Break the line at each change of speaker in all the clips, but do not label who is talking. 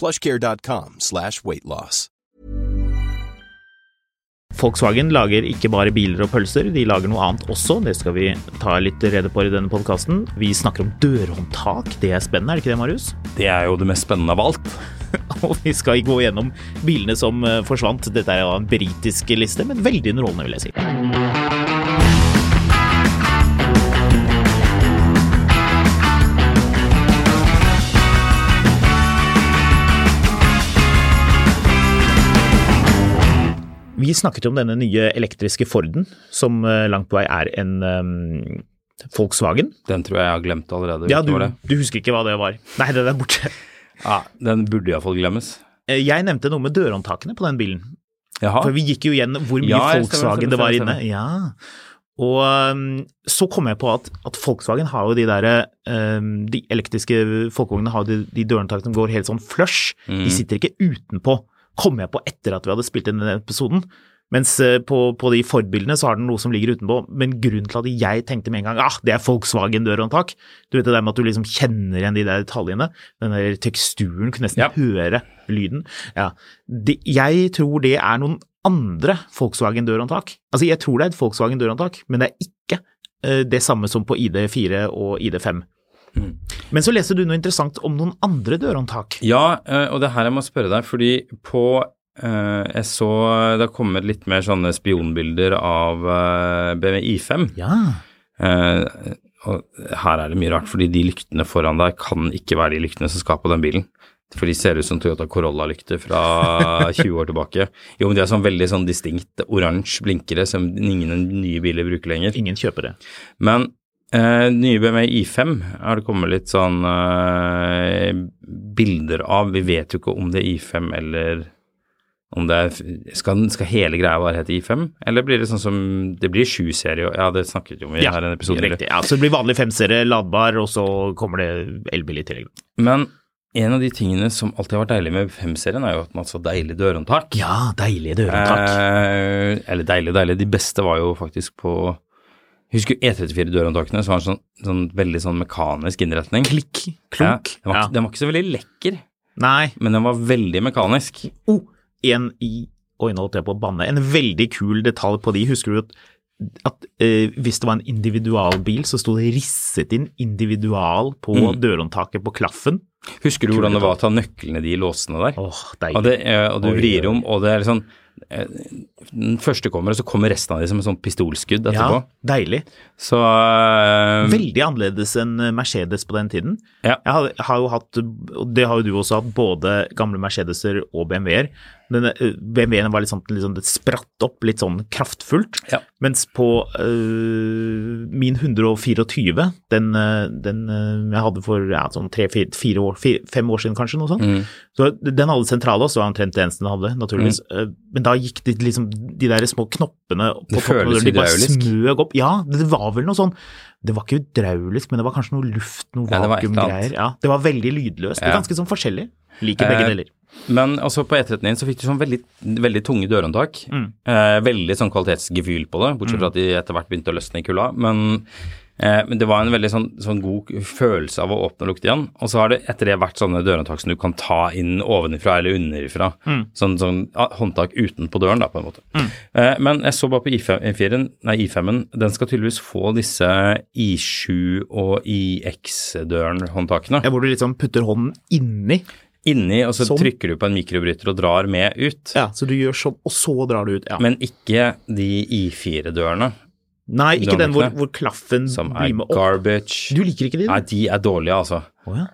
plushcare.com slash weight loss.
Volkswagen lager ikke bare biler og pølser, de lager noe annet også. Det skal vi ta litt rede på i denne podkasten. Vi snakker om dørhåndtak. Det er spennende, er det ikke det, Marius?
Det er jo det mest spennende av alt.
Og vi skal gå gjennom bilene som eh, forsvant. Dette er jo en britisk liste, men veldig underholdende, vil jeg si. Vi snakket jo om denne nye elektriske Forden, som eh, langt på vei er en eh, Volkswagen.
Den tror jeg jeg har glemt allerede.
Ja,
Vet
du,
hva det?
du husker ikke hva det var. Nei, den er borte.
ja, Den burde iallfall glemmes.
Eh, Jeg nevnte noe med dørhåndtakene på den bilen.
Jaha.
For vi gikk jo igjen hvor mye
Ja, stemmer,
Volkswagen
stemmer,
det var
stemmer,
inne. Ja. Og um, så kom jeg på at, at Volkswagen har jo de der um, De elektriske folkevognene har de, de dørhåndtakene som går helt sånn flush.
Mm.
De sitter ikke utenpå, kom jeg på etter at vi hadde spilt inn denne episoden. Mens eh, på, på de Ford-bildene så har den noe som ligger utenpå, men grunnen til at jeg tenkte med en gang ah, det er Volkswagen-dørhåndtak Du vet det der med at du liksom kjenner igjen de der detaljene, den der teksturen, kunne nesten
Ja.
høre lyden. Ja. Det, jeg tror det er noen andre Volkswagen-dørhåndtak. Altså, jeg tror det er et Volkswagen-dørhåndtak, men det er ikke eh, det samme som på ID4 og ID5.
Mm.
Men så leste du noe interessant om noen andre dørhåndtak.
Ja, eh, og det er her jeg må spørre deg, fordi på eh, Jeg så det har kommet litt mer sånne spionbilder av eh, BMW I5.
Ja.
Eh, og her er det mye rart, fordi de lyktene foran deg kan ikke være de lyktene som skal på den bilen. For de ser ut som Toyota Corolla-lykter fra 20 år tilbake. Jo, men de er sånn veldig sånn distinkt oransje blinkere som ingen nye biler bruker lenger.
Ingen kjøper det.
Men eh, nye BMW i5 har det kommet litt sånn eh, bilder av. Vi vet jo ikke om det er i5 eller om det er Skal, den- skal hele greia bare hete i5, eller blir det sånn som Det blir 7-serie, ja, det snakket jo om i
Ja,
her en episode. eller?
Riktig. Ja, så det blir vanlig femserie, ladbar, og så kommer det elbil i tillegg.
Men en av de tingene som alltid har vært deilig med 5-serien, er jo at man har så deilig dørhåndtak.
Ja, deilige dørhåndtak.
Eh, eller deilig, deilig. De beste var jo faktisk på jeg husker E34-dørhåndtakene, som var en sånn, sånn veldig sånn mekanisk innretning.
Eh, Klikk, klunk.
Ja, den, var,
Ja.
ikke- den var ikke så veldig lekker,
Nei.
men den var veldig mekanisk.
Oh, en i Oi, nå holdt jeg på å banne. En veldig kul detalj på de. Husker du at, at eh, hvis det var en individualbil, så sto det risset inn individual på
Mm.
dørhåndtaket på klaffen.
Husker du
Kul
hvordan
detalj.
det var å ta nøklene de låsene der?
Åh,
Og,
deilig.
det, eh, og du
Oi, oi,
vrir
oi.
om, og det er sånn eh, Den første kommer, og så kommer resten av de som et sånt pistolskudd etterpå.
ja, deilig.
Så eh,
Veldig annerledes enn Mercedes på den tiden.
Ja.
Jeg har, har jo hatt, og det har jo du også hatt, både gamle Mercedeser og BMW-er. Men eh, BMW-en var litt sånn, litt sånn det spratt opp, litt sånn kraftfullt.
Ja.
Mens på øh, min 124, den, øh, den øh, jeg hadde for ja, sånn tre, fire, fire år, fire, fem år siden kanskje, noe sånt,
Mm.
så den hadde sentrale også, var omtrent det eneste den hadde, naturligvis.
Mm.
Eh, Men da gikk det liksom de der små knoppene på
Det
toppen av
føles
døren, de bare
hydraulisk.
smøg opp. Ja, det var vel noe sånn Det var ikke hydraulisk, men det var kanskje noe luft, noe
Ja, det var et eller annet.
vakuumgreier. Ja, det var veldig lydløst. Det er
Ja.
ganske sånn forskjellig. Liker begge
Eh,
deler.
Men altså på E39 så fikk du sånn veldig, veldig tunge dørhåndtak. Eh, veldig sånn kvalitetsgefühl på det, bortsett fra at de etter hvert begynte å løsne i kulda. Men, eh, men det var en veldig sånn, sånn god følelse av å åpne og lukte igjen. Og så har det etter det vært sånne dørhåndtak som du kan ta inn ovenifra eller underifra. Sånn, sånn ja, håndtak utenpå døren, da, på en måte. Eh, men jeg så bare på I4-en, nei I5-en, den skal tydeligvis få disse I7 og IX-døren-håndtakene.
Ja, hvor du liksom putter hånden inni
inni, og så
Sånn.
trykker du på en mikrobryter og drar med ut.
Ja, så du gjør sånn, og så drar du ut. Ja.
Men ikke de I4-dørene
Nei, ikke den hvor,
dørene.
hvor klaffen
som er
blir med opp.
garbage.
Du liker ikke de?
Nei, de er dårlige, altså.
Åja.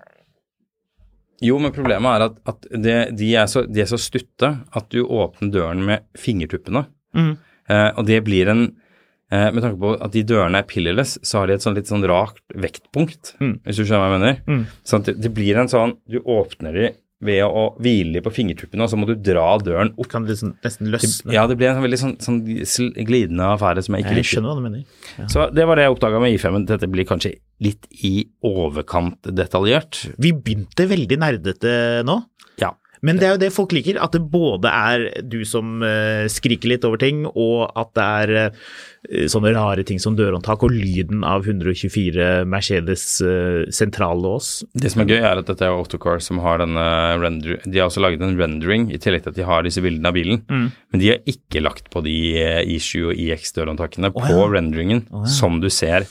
Jo, men problemet er at, at det, de, er så, de er så stutte at du åpner døren med fingertuppene.
Mm.
Eh, og det blir en eh, Med tanke på at de dørene er pillerless, så har de et sånn litt sånn rakt vektpunkt,
Mm.
hvis du skjønner hva jeg mener.
Mm.
Sånn at det, det blir en sånn Du åpner de ved å hvile på fingertuppene, og så må du dra døren opp.
Kan liksom nesten løsne.
Ja, det blir en sånn veldig sånn, sånn sl- glidende affære som jeg ikke
Jeg
liker.
skjønner hva du mener.
Så det var det jeg oppdaga med I5-en. Dette blir kanskje litt i overkant detaljert.
Vi begynte veldig nerdete nå.
Ja.
Men det er jo det folk liker, at det både er du som eh, skriker litt over ting, og at det er eh, sånne rare ting som dørhåndtak og lyden av 124 Mercedes eh, sentrallås.
Det som er gøy, er at dette er Autocar som har denne render... De har også laget en rendering, i tillegg til at de har disse bildene av bilen. Men de har ikke lagt på de eh, I7 og IX-dørhåndtakene på renderingen, som du ser.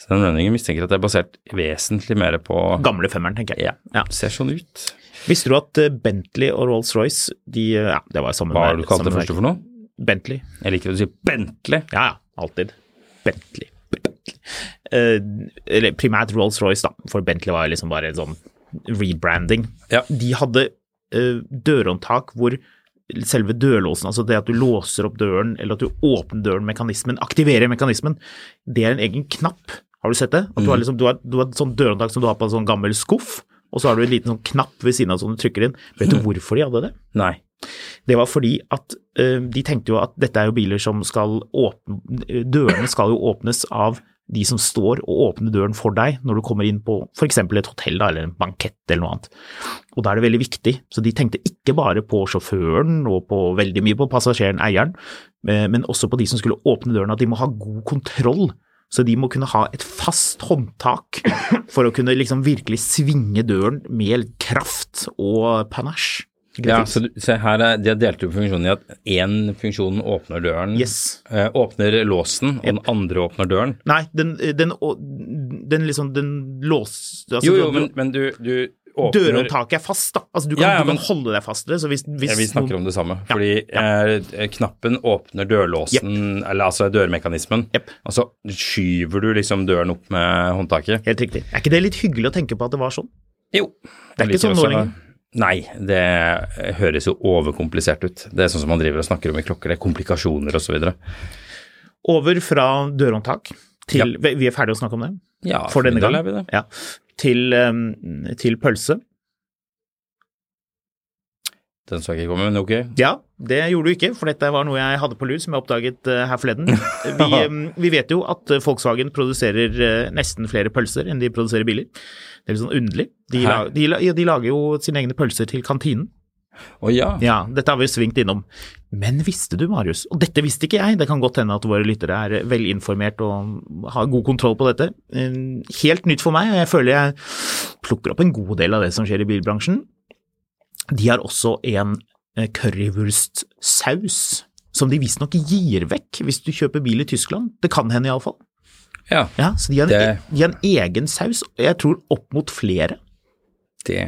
Så den renderingen mistenker at det er basert vesentlig mer på
Gamle femmeren, tenker jeg.
Ja, ser sånn ut.
Visste du at eh, Bentley og Rolls-Royce, de eh, Ja, det var samme
Hva har du kalt det
samme
første for noe?
Bentley.
Jeg liker at du sier Bentley.
Ja, ja. Alltid. Bentley. Bentley. Eh, eller primært Rolls-Royce, da, for Bentley var jo liksom bare en sånn rebranding.
Ja.
De hadde eh, dørhåndtak hvor selve dørlåsen, altså det at du låser opp døren, eller at du åpner døren, mekanismen, aktiverer mekanismen, det er en egen knapp. Har du sett det? At du, har liksom, du, har, du har et sånt dørhåndtak som du har på en sånn gammel skuff, og så har du en liten sånn knapp ved siden av som du trykker inn. Vet du hvorfor de hadde det?
Nei.
Det var fordi at eh, de tenkte jo at dette er jo biler som skal åpne Dørene skal jo åpnes av de som står og åpner døren for deg når du kommer inn på f.eks. et hotell da, eller en bankett eller noe annet. Og da er det veldig viktig. Så de tenkte ikke bare på sjåføren og på veldig mye på passasjeren, eieren, eh, men også på de som skulle åpne døren, at de må ha god kontroll. Så de må kunne ha et fast håndtak for å kunne liksom virkelig svinge døren med kraft og panache.
Ja, så du, se her er, De har delt opp funksjonen i at én funksjon åpner døren,
Yes.
eh, åpner låsen, og den andre åpner døren.
Nei, den, den, den liksom Den lås... Altså,
Jo, jo,
du-
men, men du, du åpner
Dørhåndtaket er fast, da. Altså, du kan,
Ja, ja,
du kan
men-
holde deg fast i det. Så hvis, hvis
Ja, vi snakker om det samme. Fordi Eh, knappen åpner dørlåsen, eller altså dørmekanismen,
Jepp.
og så skyver du liksom døren opp med håndtaket.
Helt riktig. Er ikke det litt hyggelig å tenke på at det var sånn?
Jo.
Det er ikke
jeg liker
sånn nå
også-
lenger.
Nei, det høres jo overkomplisert ut. Det er sånn som man driver og snakker om i klokker, det er komplikasjoner og så videre.
Over fra dørhåndtak til Vi vi er ferdige å snakke om det
Ja,
for denne
min del
gang.
er vi det.
Ja. Til, eh, til pølse.
Den så jeg ikke komme, men ok.
Ja, det gjorde du ikke, for dette var noe jeg hadde på lur som jeg oppdaget eh, her forleden. Vi, eh, vi vet jo at eh, Volkswagen produserer eh, nesten flere pølser enn de produserer biler. Det er litt sånn underlig. De,
Hæ?
la, de, la- ja, de lager jo sine egne pølser til kantinen.
Å ja.
Ja, dette har vi svingt innom. Men visste du, Marius, og dette visste ikke jeg, det kan godt hende at våre lyttere er velinformert og har god kontroll på dette. Eh, Helt nytt for meg, og jeg føler jeg plukker opp en god del av det som skjer i bilbransjen. De har også en eh, currywurstsaus som de visstnok gir vekk hvis du kjøper bil i Tyskland. Det kan hende iallfall.
ja.
Ja, så de har, en,
Det-
e- de har en egen saus, og jeg tror opp mot flere.
Det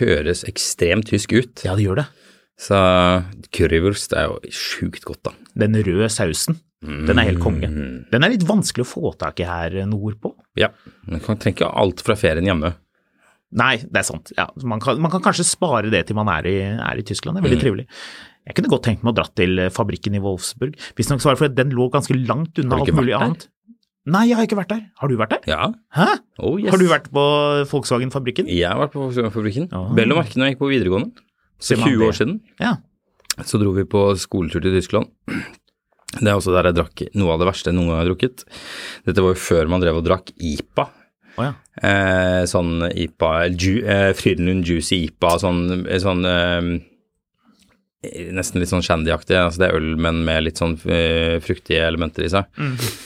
høres ekstremt tysk ut.
Ja, de gjør det.
Så currywurst er jo sjukt godt, da.
Den røde sausen. Den er helt konge.
Mm.
Den er litt vanskelig å få tak i her nordpå.
Ja. Man kan trenger ikke alt fra ferien hjemme.
Nei, det er sant. Ja, man, kan, man kan kanskje spare det til man er i, er i Tyskland. Det er veldig
Mm.
trivelig. Jeg kunne godt tenkt meg å dra til eh, fabrikken i Wolfsburg. Visstnok så var det fordi den lå ganske langt unna
Har du
alt
ikke
mulig
vært der?
annet. Nei, jeg har ikke vært der. Har du vært der?
Ja.
Hæ?
Oh, yes.
Har du vært på Volkswagen-fabrikken?
Jeg har vært på Volkswagen-fabrikken.
Ja.
Vel å merke når jeg gikk på videregående.
Se
For
meg
20
det.
år siden
Ja.
så dro vi på skoletur til Tyskland. Det er også der jeg drakk noe av det verste jeg noen gang har drukket. Dette var jo før man drev og drakk IPA.
Å ja.
Eh, sånn IPA ju, eh, Frydenlund Juicy IPA, sånn, eh, sånn eh, Nesten litt sånn shandyaktig. Altså det er øl, men med litt sånn eh, fruktige elementer i seg.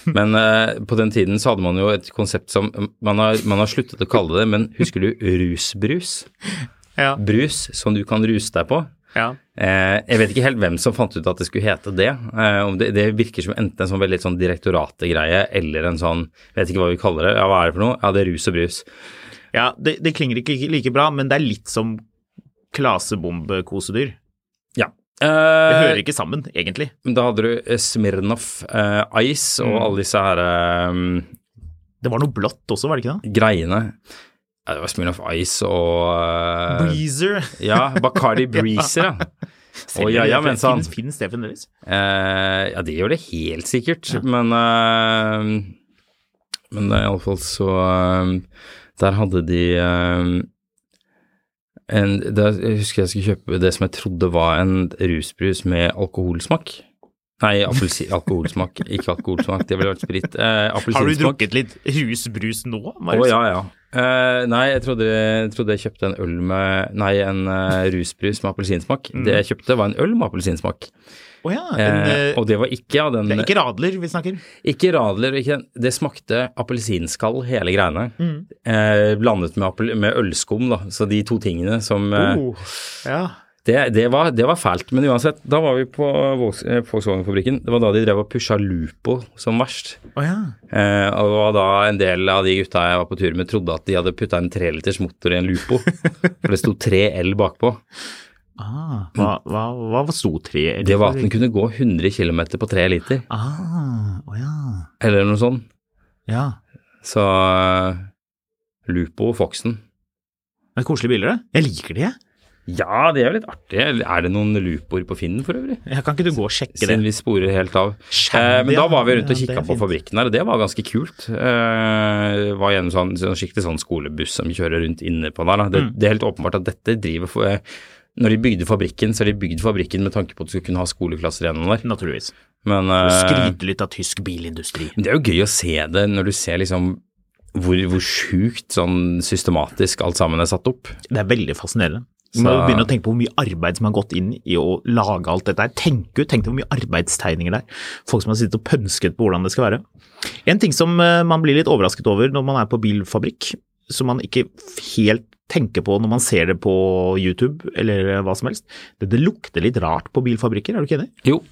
men eh, på den tiden så hadde man jo et konsept som man har, man har sluttet å kalle det, men husker du rusbrus?
Ja.
Brus som du kan ruse deg på.
ja.
Eh, jeg vet ikke helt hvem som fant ut at det skulle hete det. Eh, om det, det virker som enten en sånn veldig sånn direktoratet-greie eller en sånn Jeg vet ikke hva vi kaller det. Ja, hva er det for noe? Ja, det er rus og brus.
det, det klinger ikke like bra, men det er litt som klasebombekosedyr.
Ja.
Det
Eh,
hører ikke sammen, egentlig.
men da hadde du eh, Smirnov eh, Ice og alle disse her eh,
Det var noe blått også, var det ikke det?
greiene. Ja, det var Smirnov Ice og eh,
Breezer.
Ja, Bacardi Breezer, ja. Og ja, ja, men sånn. sann.
Fins- Fins det fremdeles?
Eh, ja, det gjør det helt sikkert, men eh, Men det er iallfall så eh, Der hadde de eh, en, der, Jeg husker jeg skulle kjøpe det som jeg trodde var en rusbrus med alkoholsmak. Nei, appelsi, alkoholsmak, ikke alkoholsmak, det ville vært sprit. Eh,
Har du
Appelsinsmak.
drukket litt rusbrus nå,
Å,
Marius?
ja, ja. Eh, nei, jeg trodde, jeg trodde jeg kjøpte en øl med Nei, en eh, rusbrus med appelsinsmak. Det jeg kjøpte, var en øl med appelsinsmak.
Å ja, Mm. en,
Eh,
eh,
og det var ikke av den
det er ikke Radler vi snakker.
Ikke Radler, ikke den. Det smakte appelsinskall, hele greiene. Eh, blandet med, appel, med ølskum, da. Så de to tingene som eh,
Oh, ja.
det, det, var, det var fælt. Men uansett, da var vi på Volks- eh, Volkswagen-fabrikken. Det var da de drev og pusha Lupo som verst.
Å ja.
Eh, og det var da en del av de gutta jeg var på tur med, trodde at de hadde putta en treliters motor i en Lupo. For det sto 3L bakpå.
Ah, hva, hva, hva sto tre eller
Mm. Det var at
for-
den kunne gå 100 km på 3 liter,
Ah, å ja.
eller noe sånt.
ja.
Så eh, Lupo og Foxen.
Det er koselige bilder, det. Jeg liker de, jeg.
Ja, det er jo litt artig. Er det noen looper på Finn for øvrig?
jeg. Kan ikke du gå og sjekke det?
Siden vi sporer helt av.
Skjerm,
eh, men
ja.
da var vi rundt og
Ja, det er
kikka på
fint.
fabrikken her, og det var ganske kult. Eh, var gjennom sånn, sånn skikkelig sånn skolebuss som kjører rundt inne på der. Da. Det, det er helt åpenbart at dette driver for, eh, Når de bygde fabrikken, så har de bygd fabrikken med tanke på at du skulle kunne ha skoleklasser gjennom der.
Naturligvis.
Men eh,
Skryte litt av tysk bilindustri.
men det er jo gøy å se det når du ser liksom hvor, hvor sjukt sånn systematisk alt sammen er satt opp.
Det er veldig fascinerende. Du må
Så-
jo begynne å tenke på hvor mye arbeid som har gått inn i å lage alt dette her. Tenk ut, tenk deg hvor mye arbeidstegninger det er. Folk som har sittet og pønsket på hvordan det skal være. En ting som eh, man blir litt overrasket over når man er på bilfabrikk, som man ikke helt tenker på når man ser det på YouTube eller eh, hva som helst, det, det lukter litt rart på bilfabrikker, er du ikke enig?
Jo,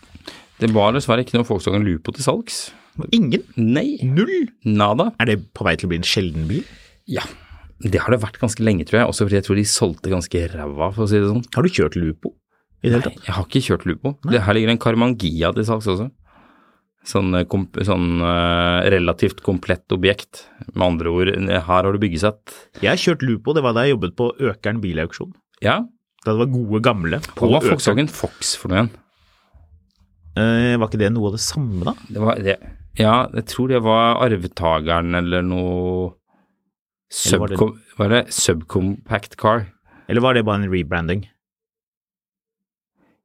det var dessverre ikke noe Volkswagen Lupo til salgs.
Ingen.
Nei.
Null.
Nada?
Er det på vei til å bli en sjelden bil?
Ja. Det har det vært ganske lenge, tror jeg. Også fordi jeg tror de solgte ganske ræva, for å si det sånn.
Har du kjørt Lupo i det hele tatt?
Jeg har ikke kjørt Lupo. Det her ligger en Carmangia til salgs også. Sånn, eh, komp sånn eh, relativt komplett objekt. Med andre ord, her har du byggesett.
Jeg har kjørt Lupo, det var da jeg jobbet på Økern bilauksjon.
Ja.
Da det var gode gamle på
Og hva er
Økern.
Volkswagen Fox for noe igjen?
Eh, var ikke det noe av det samme, da?
Det var det. Ja, jeg tror det var arvtakeren eller noe
Eller var det-
Subcom... Var det subcompact car?
Eller var det bare en rebranding?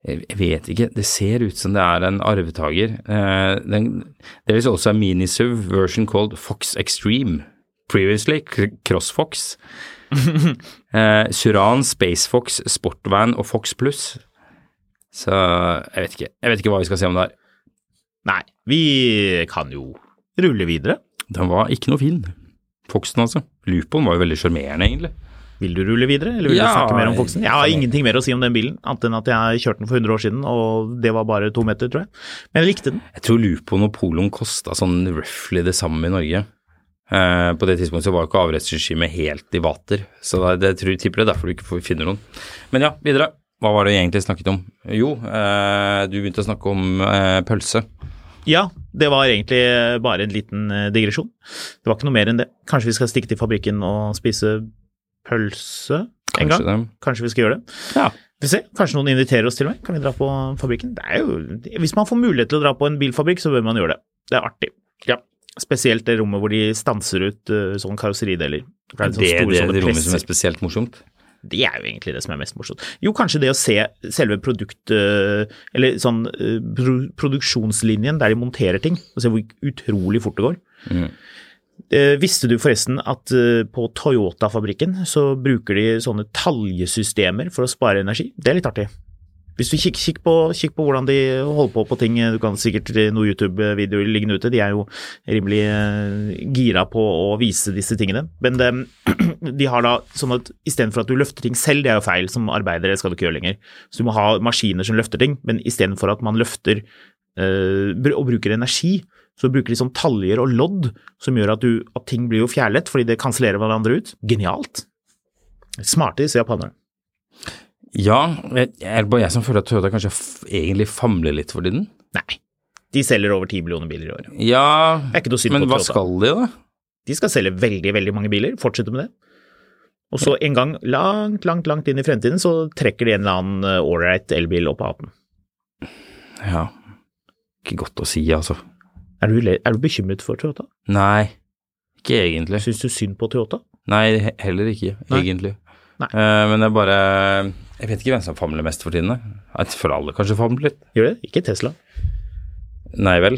Jeg jeg vet ikke, det ser ut som det er en arvetaker. Eh, den- Deres også er minisuv version called Fox Extreme. Previously Cr- CrossFox. eh, Suran, SpaceFox, Sportvan og Fox Plus. Så jeg vet ikke. Jeg vet ikke hva vi skal se om det her.
Nei, vi kan jo rulle videre.
Den var ikke noe fin. Foxen, altså. Lupoen var jo veldig sjarmerende, egentlig.
Vil du rulle videre, eller vil
Ja,
du snakke mer om Foxen? Jeg har
kan jeg-
ingenting mer å si om den bilen, annet enn at jeg kjørte den for 100 år siden, og det var bare to meter, tror jeg. Men jeg likte den.
Jeg tror Lupoen og Poloen kosta sånn roughly det samme i Norge. Eh, på det tidspunktet så var jo ikke avrettsregimet helt i vater, så det, det tror, tipper det er derfor du ikke får- finner noen. Men ja, videre. Hva var det jeg egentlig snakket om? Jo, eh, du begynte å snakke om eh, pølse.
Ja, det var egentlig bare en liten eh, digresjon. Det var ikke noe mer enn det. Kanskje vi skal stikke til fabrikken og spise pølse en
Kanskje
gang? Kanskje vi skal gjøre det.
det. Ja.
Vi får se, Kanskje noen inviterer oss til og med. Kan vi dra på fabrikken? Det er jo, hvis man får mulighet til å dra på en bilfabrikk, så bør man gjøre det. Det er artig. Spesielt det rommet hvor de stanser ut uh, sånne karosserideler. For er
Det
sånne sånn
er det,
store sånne
det rommet som
presser.
er spesielt morsomt.
Det er jo egentlig det som er mest morsomt. Jo, kanskje det å se selve produkt... eh, Eller sånn eh, pro produksjonslinjen der de monterer ting, og se hvor utrolig fort det går.
Mm.
Eh, visste du forresten at eh, på Toyota-fabrikken så bruker de sånne taljesystemer for å spare energi? Det er litt artig. Hvis du kikk, kikk, på, kikk på hvordan de holder på på ting, du kan sikkert eh, noen YouTube-videoer liggende ute, de er jo rimelig eh, gira på å vise disse tingene. Men det, de har da sånn at istedenfor at du løfter ting selv, det er jo feil, som arbeidere skal du ikke gjøre lenger. Så du må ha maskiner som løfter ting, men istedenfor at man løfter eh, br- og bruker energi, så bruker de sånn taljer og lodd som gjør at, du, at ting blir jo fjærlett fordi det kansellerer hverandre ut. Genialt. Smartis japanere.
Ja, jeg, er det bare jeg som føler at Toyota kanskje f egentlig famler litt for tiden?
Nei. De selger over 10 millioner biler i år.
Ja,
Det er ikke noe synd
men
på
hva
Toyota.
skal de, da?
De skal selge veldig, veldig mange biler, fortsette med det. Og så en gang langt, langt, langt inn i fremtiden så trekker de en eller annen eh, ålreit elbil opp av hatten.
Ja, ikke godt å si, altså.
Er du, le- er du bekymret for Toyota?
Nei, ikke egentlig.
Syns du synd på Toyota?
Nei, he- heller ikke,
Nei.
egentlig.
Nei.
Eh, men det er bare Jeg vet ikke hvem som famler mest for tiden. jeg. Jeg føler alle kanskje famler litt.
Gjør det? Ikke Tesla.
Nei vel.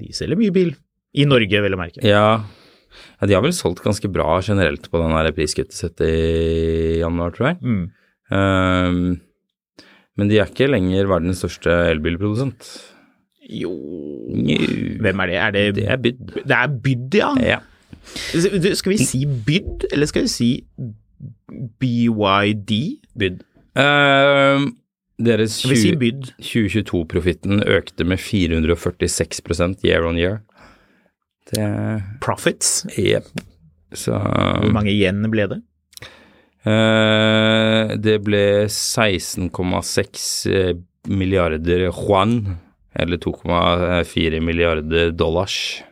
De selger mye bil. I Norge, vel å merke.
Ja. ja. De har vel solgt ganske bra generelt på den her priskuttet sitt i januar, tror jeg.
Mm.
Ehm, men de er ikke lenger verdens største elbilprodusent.
Jo
Njo.
Hvem er det? Er det,
Det er bydd.
det er Byd, ja.
Ja.
Du, Skal vi si Byd, eller skal vi si BYD?
Bydd. Ehm, deres
Skal vi si
20
Byd?
2022-profitten økte med 446 year on year. Det
Profits?
Jepp. Så Mm.
Hvor mange igjen ble det?
eh, Det ble 16,6 eh, milliarder juan, eller 2,4 milliarder dollars.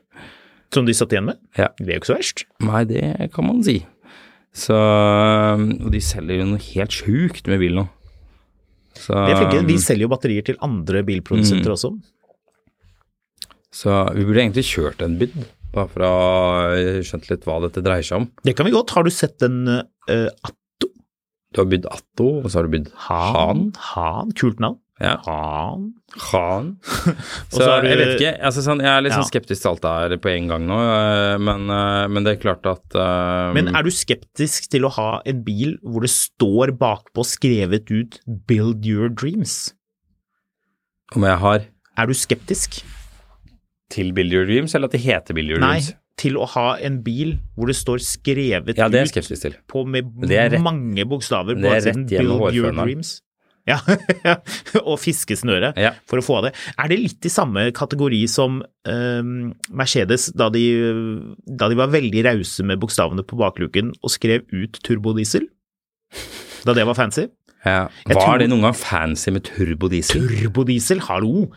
Som de satt igjen med?
Ja.
Det er jo ikke så verst.
Nei, det kan man si. Så eh, Og de selger jo noe helt sjukt med bil nå. Så,
De, er flinke.
Um,
de selger jo batterier til andre
Mm.
bilprodusenter også.
så vi burde egentlig kjørt en bid, bare for å ha skjønt litt hva dette dreier seg om.
Det kan vi godt. Har du sett den eh, Atto?
Du har bydd Atto, og så har du bydd
Han? Han? Kult navn.
Ja.
Han.
Han.
Og
Så
så har du-
jeg vet ikke. Altså, sånn, jeg er litt
Ja.
sånn skeptisk til alt det her på en gang nå, eh, men, eh, men det er klart at eh,
Men er du skeptisk til å ha en bil hvor det står bakpå skrevet ut 'Build your dreams'?
Om jeg har
Er du skeptisk?
til Build Your Dreams, eller at det heter Build Your
Nei,
Dreams?
til å ha en bil hvor det står skrevet
Ja, det er jeg
ut
skeptisk til.
på med
det er rett-
mange bokstaver på
det er
baksiden
rett gjennom
'Build your
hårføneren.
dreams'. Ja, og fiskesnøre
Ja.
for å få av det. Er det litt i samme kategori som eh, Mercedes, da de, da de var veldig rause med bokstavene på bakluken og skrev ut turbodiesel? Da det var fancy?
Ja.
Jeg
Var
tror-
det noen gang fancy med turbodiesel?
Turbodiesel, hallo!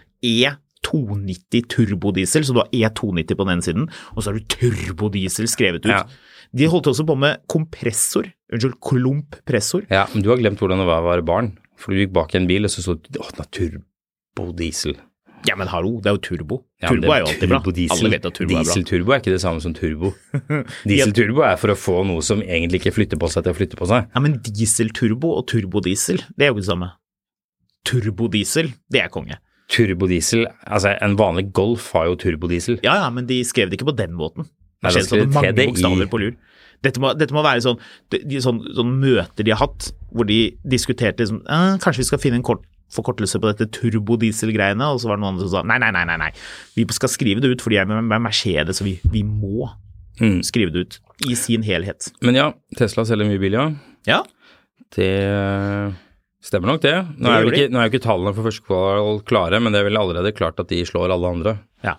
E290 turbodiesel, så du har E290 på den ene siden, og så har du turbodiesel skrevet ut.
Ja.
De holdt også på med kompressor, unnskyld, klumppressor.
Ja, men du har glemt hvordan det var å være barn. For du gikk bak i en bil, og så så du Å, den har turbodiesel.
Ja, men hallo, det er jo turbo.
Ja, men
turbo
det-
er jo alltid bra.
turbodiesel-
Alle vet at turbo er bra.
Dieselturbo er ikke det samme som turbo. Dieselturbo er for å få noe som egentlig ikke flytter på seg, til å flytte på seg.
Ja, men dieselturbo og turbodiesel, det er jo ikke det samme. Turbodiesel, det er konge.
Turbodiesel Altså, en vanlig Golf har jo turbodiesel.
Ja, ja, men de skrev det ikke på den måten. Det
Nei, da
skjedde
skrev
sånn
de
mange
TDI.
bokstaver på lur. Dette må, dette må være sånn, de, de, sånn, sånn møter de har hatt, hvor de diskuterte liksom, eh, kanskje vi skal finne en kort, forkortelse på dette turbodiesel-greiene, og så var det noen andre som sa nei, nei, nei, nei, nei. vi skal skrive det ut fordi jeg er med Mercedes, og vi, vi må
Mm.
skrive det ut i sin helhet.
Men ja, Tesla selger mye bil, ja.
Ja,
Det eh, stemmer nok, det. Nå
Det
er jo
gjør de.
ikke, nå er jo ikke tallene for første kvartal klare, men det er vel allerede klart at de slår alle andre.
Ja.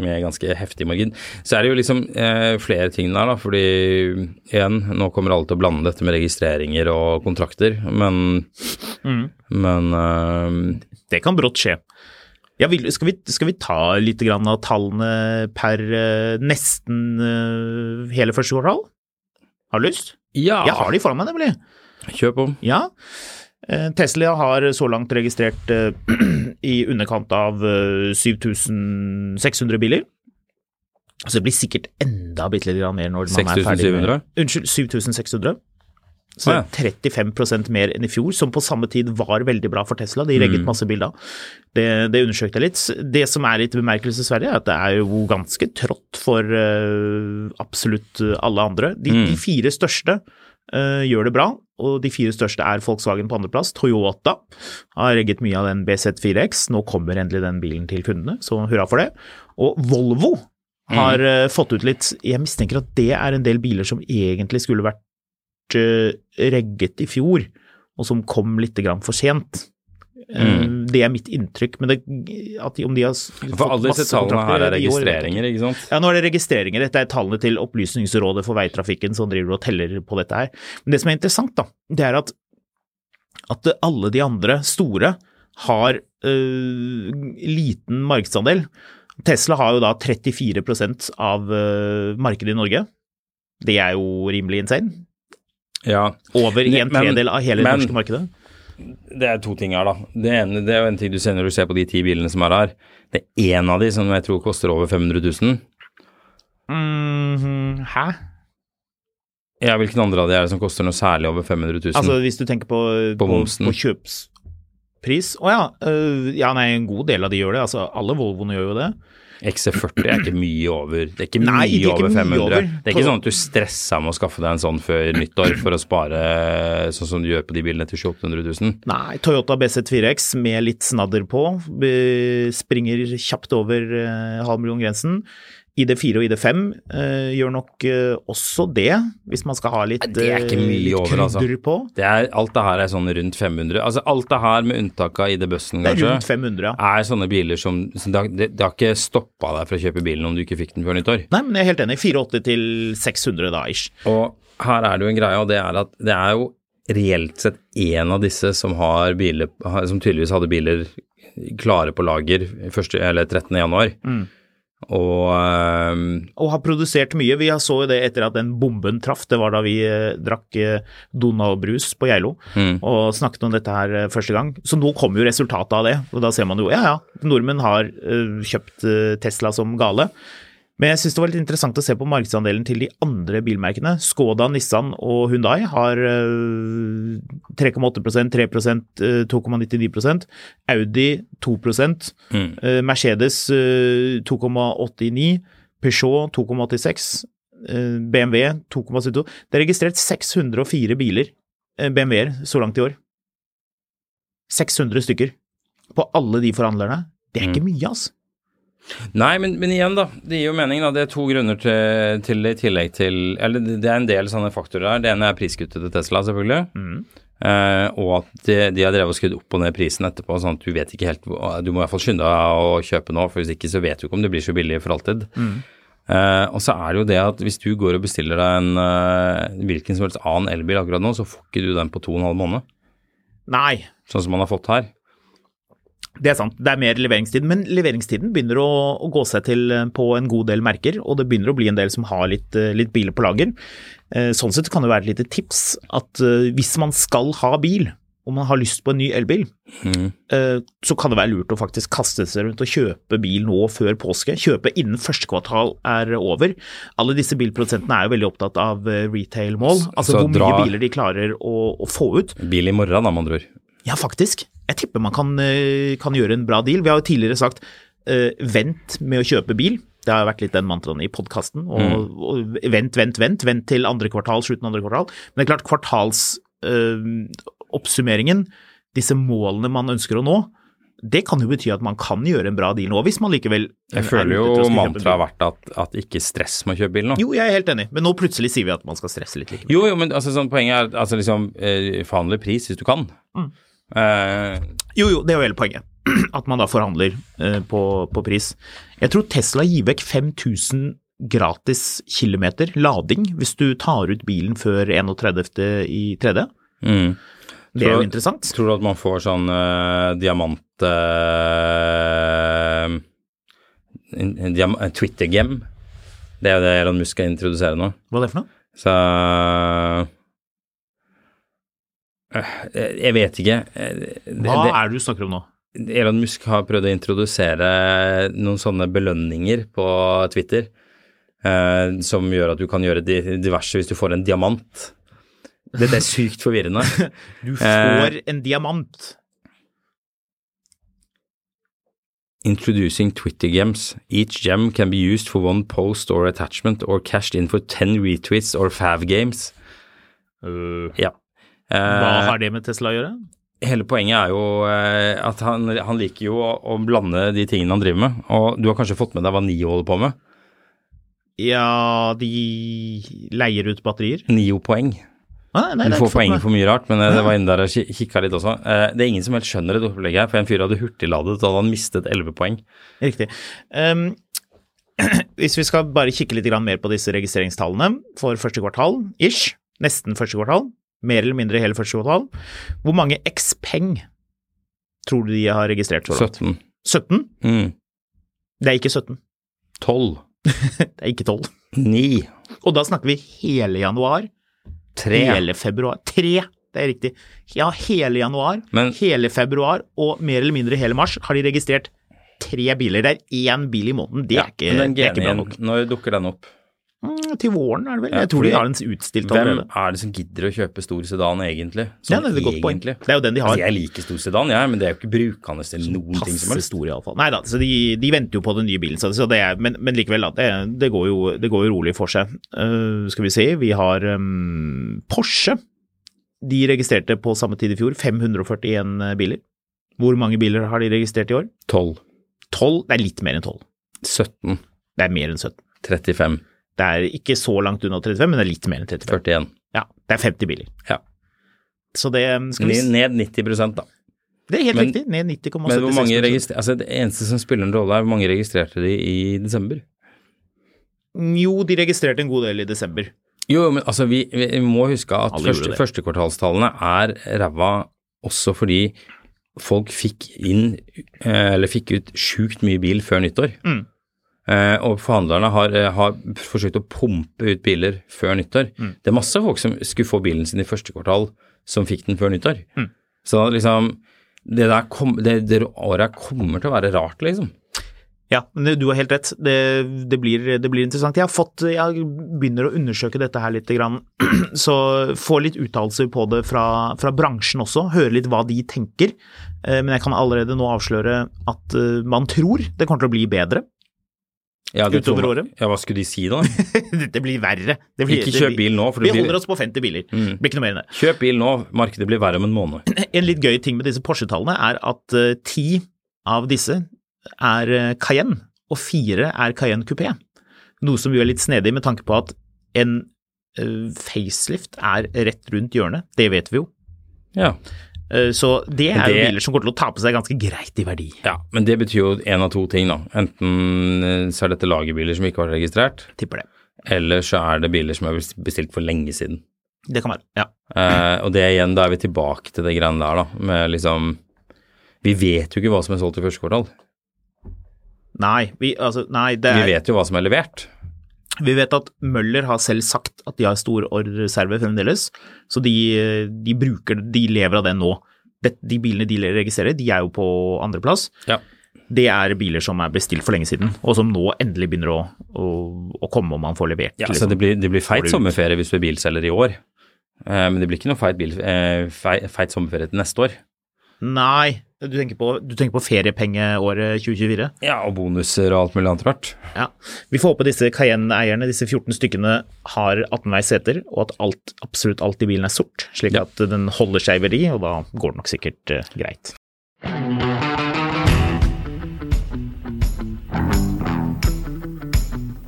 Med ganske heftig margin. Så er det jo liksom eh, flere ting der, da. Fordi igjen, nå kommer alle til å blande dette med registreringer og kontrakter, men
Mm.
Men eh,
det kan brått skje. Ja, vil, skal, vi, skal vi ta litt grann av tallene per eh, nesten eh, hele første kvartal? Har du lyst?
ja,
Jeg har de foran meg, nemlig.
kjør på.
Ja. Eh, Tesla har så langt registrert eh, i underkant av eh, 7600 biler. Så det blir sikkert enda bitte litt grann mer når man er ferdig. med-
6700?
Unnskyld, 7600. Så
Å, ja.
det er 35 mer enn i fjor, som på samme tid var veldig bra for Tesla. De
Mm.
regget masse bilder. Det, det undersøkte jeg litt. Det som er litt bemerkelsesverdig, er at det er jo ganske trått for eh, absolutt alle andre. De,
Mm.
de fire største eh, gjør det bra, og de fire største er Volkswagen på andreplass. Toyota har regget mye av den BZ4X. Nå kommer endelig den bilen til kundene, så hurra for det. Og Volvo har
Mm.
eh, fått ut litt Jeg mistenker at det er en del biler som egentlig skulle vært eh, regget i fjor, og som kom litt grann for sent.
Mm.
Eh, Det er mitt inntrykk, men det, at de, om de har s-
For alle disse tallene her er
i år, vet jeg ikke.
registreringer, ikke sant?
Ja, nå er det registreringer. Dette er tallene til Opplysningsrådet for veitrafikken som driver og teller på dette her. Men det som er interessant, da, det er at at eh, alle de andre store har eh, liten markedsandel. Tesla har jo da 34 av eh, markedet i Norge. Det er jo rimelig insane.
Ja.
Over
Ne-
en
men-
tredel av hele det
men-
norske markedet.
Det er to ting her, da. Det ene det er jo en ting du ser når du ser på de ti bilene som er her. Det er én av de som jeg tror koster over 500 000.
Mhm, hæ?
Ja, hvilken andre av de er det som koster noe særlig over 500 000?
Altså hvis du tenker på, på,
momsen.
på kjøpspris Å ja. eh, ja, nei, en god del av de gjør det. Altså alle Volvoene gjør jo det.
XC40 E er ikke mye over Det er ikke
Nei,
mye
det er ikke
over
mye
500.
over.
Det er ikke
På-
sånn at du stressa med å skaffe deg en sånn før nyttår for å spare sånn som du gjør på de bilene til 700 000.
Nei, Toyota BZ4X med litt snadder på be- springer kjapt over eh, halv million-grensen. ID4 og ID5 eh, gjør nok eh, også det, hvis man skal ha litt,
Nei, det er ikke
eh,
mye
litt
over, altså.
krydder på.
Det er, alt det her er sånn rundt 500 Altså alt det her med unntak av ID-bussen,
Det er
kanskje,
rundt 500, ja.
er sånne biler som som Det har, det, det har ikke stoppa deg fra å kjøpe bilen om du ikke fikk den før nyttår.
Nei, men jeg er helt enig. 480 til 600 da, ish.
Og her er det jo en greie, og det er at det er jo reelt sett én av disse som har biler Som tydeligvis hadde biler klare på lager første, eller 13. januar. Og ehm,
og har produsert mye. Vi så jo det etter at den bomben traff. Det var da vi eh, drakk eh, Donau-brus på Geilo og snakket om dette her eh, første gang. Så nå kommer jo resultatet av det, og da ser man jo ja ja, nordmenn har eh, kjøpt eh, Tesla som gale. Men jeg syns det var litt interessant å se på markedsandelen til de andre bilmerkene. Skoda, Nissan og Hundai har eh, 3,8 3 eh, 2,99 Audi 2 eh, Mercedes eh, 2,89 Peugeot 2,86 eh, BMW 2,72 Det er registrert 604 biler, eh, BMW-er, så langt i år. 600 stykker på alle de forhandlerne. Det er ikke mye, altså.
Nei, men, men igjen, da. Det gir jo mening, da. Det er to grunner til, til det i tillegg til Eller det det er en del sånne faktorer der. Det ene er priskuttet til Tesla, selvfølgelig. Eh, og at de, de har drevet og skrudd opp og ned prisen etterpå, sånn at du vet ikke helt hvor- Du må i hvert fall skynde deg å kjøpe nå, for hvis ikke så vet du ikke om det blir så billig for alltid. Eh, og så er det jo det at hvis du går og bestiller deg en eh, hvilken som helst annen elbil akkurat nå, så får ikke du den på to og en halv måned,
Nei.
sånn som man har fått her.
Det er sant, det er mer leveringstid, men leveringstiden begynner å, å gå seg til eh, på en god del merker, og det begynner å bli en del som har litt, eh, litt biler på lager. Eh, Sånn sett kan det være et lite tips at eh, hvis man skal ha bil, og man har lyst på en ny elbil,
Mm.
eh, så kan det være lurt å faktisk kaste seg rundt og kjøpe bil nå før påske. Kjøpe innen første kvartal er over. Alle disse bilprodusentene er jo veldig opptatt av eh, retail-mål, altså
Så
hvor mye
dra-
biler de klarer å, å få ut.
Bil i morgen, da, med andre ord.
Ja, faktisk. Jeg tipper man kan, eh, kan gjøre en bra deal. Vi har jo tidligere sagt eh, vent med å kjøpe bil. Det har vært litt den mantraen i podkasten. Og,
Mm.
og vent, vent, vent. Vent til andre kvartal, slutten av andre kvartal. Men det er klart, kvartalsoppsummeringen, disse målene man ønsker å nå, det kan jo bety at man kan gjøre en bra deal nå, hvis man likevel
Jeg føler jo mantraet har vært at, at ikke stress med å kjøpe bil nå.
Jo, jeg er helt enig, men nå plutselig sier vi at man skal stresse litt likevel.
Jo, jo, men altså, sånn, poenget er at, altså, liksom, eh, forhandle pris hvis du kan. Eh,
Jo, jo, det er jo hele poenget. At man da forhandler eh, på, på pris. Jeg tror Tesla gir vekk 5000 gratis kilometer lading hvis du tar ut bilen før 31. i tredje.
mm.
Det er
Tror-
jo interessant.
Tror du at man får sånn eh, diamant eh, en- en diam en Twitter-gem? Det er jo det Elon Musk skal introdusere nå.
Hva er det for noe?
Så Eh, jeg jeg vet ikke. Eh, det-
Hva
det-
er det du snakker om nå?
Elon Musk har prøvd å introdusere noen sånne belønninger på Twitter, eh, som gjør at du kan gjøre di- diverse hvis du får en diamant. Dette er sykt forvirrende. Eh,
Du får en diamant.
Introducing Twitter gems. Each gem can be used for one post or attachment or cashed in for 10 retweets or fav games. ja.
Hva
Eh,
har det med Tesla å gjøre?
hele poenget er jo eh, at han, han liker jo å, å blande de tingene han driver med, og du har kanskje fått med deg hva Nio holder på med?
Ja, de leier ut batterier.
Nio-poeng.
Nei, nei,
Du
det er ikke
får
fått
poeng
med.
for mye rart, men eh, det var inne der og ki- kikka litt også. Eh, Det er ingen som helt skjønner det opplegget her, for en fyr hadde hurtigladet, da hadde han mistet 11 poeng.
Riktig. Ehm, hvis vi skal bare kikke litt grann mer på disse registreringstallene for første kvartal, ish, nesten første kvartal, mer eller mindre hele første kvartal. Hvor mange Xpeng tror du de har registrert så langt?
17.
17?
Mm.
Det er ikke 17.
12.
Det er ikke 12.
9.
Og da snakker vi hele januar,
3.
hele februar. Tre, det er riktig. Ja, hele januar,
Men-
hele februar og mer eller mindre hele mars har de registrert tre biler. Det er én bil i måneden. Det er ikke,
Men den
det er ikke bra
GN-en,
nok.
når dukker den opp?
Mm, til våren er det vel?
Ja,
Jeg tror
fordi-
de har den utstilt
Hvem
allerede.
er det som gidder å kjøpe stor sedan egentlig?
Ja,
Sånn
det er et godt poeng.
egentlig.
Det er jo den de har.
Altså, jeg liker stor sedan, jeg, men det er jo ikke brukende til noen ting som
Passe
helst.
stor, iallfall. Nei da, så de, de venter jo på den nye bilen, så, så det er, men, men likevel, da. Det, det, går jo, det går jo rolig for seg. Eh, skal vi se, vi har ehm, Porsche. De registrerte på samme tid i fjor 541 eh, biler. Hvor mange biler har de registrert i år?
12.
12? Det er litt mer enn 12.
17.
Det er mer enn 17.
35.
Det er ikke så langt unna 35, men det er litt mer enn 35.
41.
Ja, det er 50 biler.
Ja.
Så det ehm, skal vi, s-
Ned, ned 90 da.
Det er helt
men-
riktig. Ned 90,76
Men hvor mange registrer, altså det eneste som spiller en rolle, er hvor mange registrerte de i desember?
Mm, Jo, de registrerte en god del i desember.
Jo, men altså, vi, vi må huske at
Alle gjorde
første,
det.
førstekvartalstallene er ræva også fordi folk fikk inn, eh, eller fikk ut sjukt mye bil før nyttår.
Mm.
Eh, og forhandlerne har, eh, har forsøkt å pumpe ut biler før nyttår.
Mm.
Det er masse folk som skulle få bilen sin i første kvartal, som fikk den før nyttår.
Mm.
Så liksom, det, der kom, det, det året kommer til å være rart, liksom.
Ja, men det- du har helt rett. Det, det, blir, det blir interessant. Jeg, har fått, jeg begynner å undersøke dette her litt, grann. så få litt uttalelser på det fra, fra bransjen også. Høre litt hva de tenker. Eh, Men jeg kan allerede nå avsløre at eh, man tror det kommer til å bli bedre.
Ja, det tror
Utover
man-
året?
Ja, hva skulle de si da?
Det blir verre. Det blir,
Ikke kjøp bil nå, for det
Vi
blir- Mm.
holder oss på 50 biler. Det blir ikke noe mer enn det.
Kjøp bil nå, markedet blir verre om en måned.
En litt gøy ting med disse Porsche-tallene er at eh, ti av disse er eh, Cayenne, og fire er Cayenne Coupé. Noe som jo er litt snedig med tanke på at en eh, facelift er rett rundt hjørnet. Det vet vi jo.
Ja.
Eh, Så det er jo
Det-
biler som kommer til å tape seg ganske greit i verdi.
Ja, men det betyr jo en av to ting, da. Enten eh, så er dette lagerbiler som ikke var registrert,
Tipper det.
eller så er det biler som er bestilt for lenge siden.
Det kan være. Ja.
Eh, og det igjen, da er vi tilbake til det greiene der, da. Med liksom Vi vet jo ikke hva som er solgt i første kvartal.
Nei, vi, altså, nei det
Vi
er, vi,
vet jo hva som er levert.
vet. at Møller har selv sagt at de har stor ordreserve fremdeles, så de, eh, de, bruker, de lever av det nå. Det, de bilene de registrerer, de er jo på andreplass.
Ja.
det er biler som er bestilt for lenge siden, og som nå endelig begynner å, å, å komme om man får levert. liksom.
Så det blir, det blir
Får
feit
det ut.
sommerferie hvis du er bilselger i år. Eh, men det blir ikke noe feit, bil, eh, fei- feit sommerferie til neste år.
Nei, du tenker, på, du tenker på feriepengeåret 2024?
Ja, og bonuser og alt mulig annet rart.
Ja. Vi får håpe disse Cayenne-eierne, disse 14 stykkene, har 18-veis seter, og at alt, absolutt alt i bilen er sort, slik
Ja.
at den holder seg i verdi, og da går det nok sikkert eh, greit.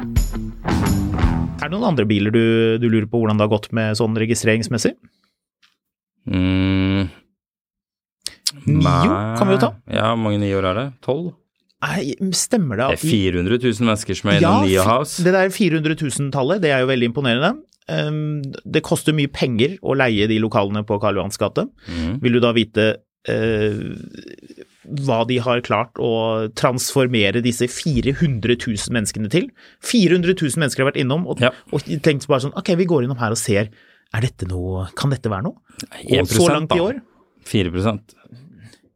Er det noen andre biler du, du lurer på hvordan det har gått med sånn registreringsmessig?
Mm.
Nio kan vi jo ta.
Ja, hvor mange niår er det? Tolv?
Nei, stemmer det
Det
at
er 400 000 mennesker som er
Ja,
innom Nia
fi-
House.
Det der 400 000-tallet, det er jo veldig imponerende. Um, det koster mye penger å leie de lokalene på Karl Johans gate.
Mhm.
Vil du da vite eh, hva de har klart å transformere disse 400 000 menneskene til? 400 000 mennesker har vært innom og,
Ja.
og tenkt bare sånn Ok, vi går innom her og ser. Er dette noe Kan dette være noe? Og
1%,
så langt i
da.
år
4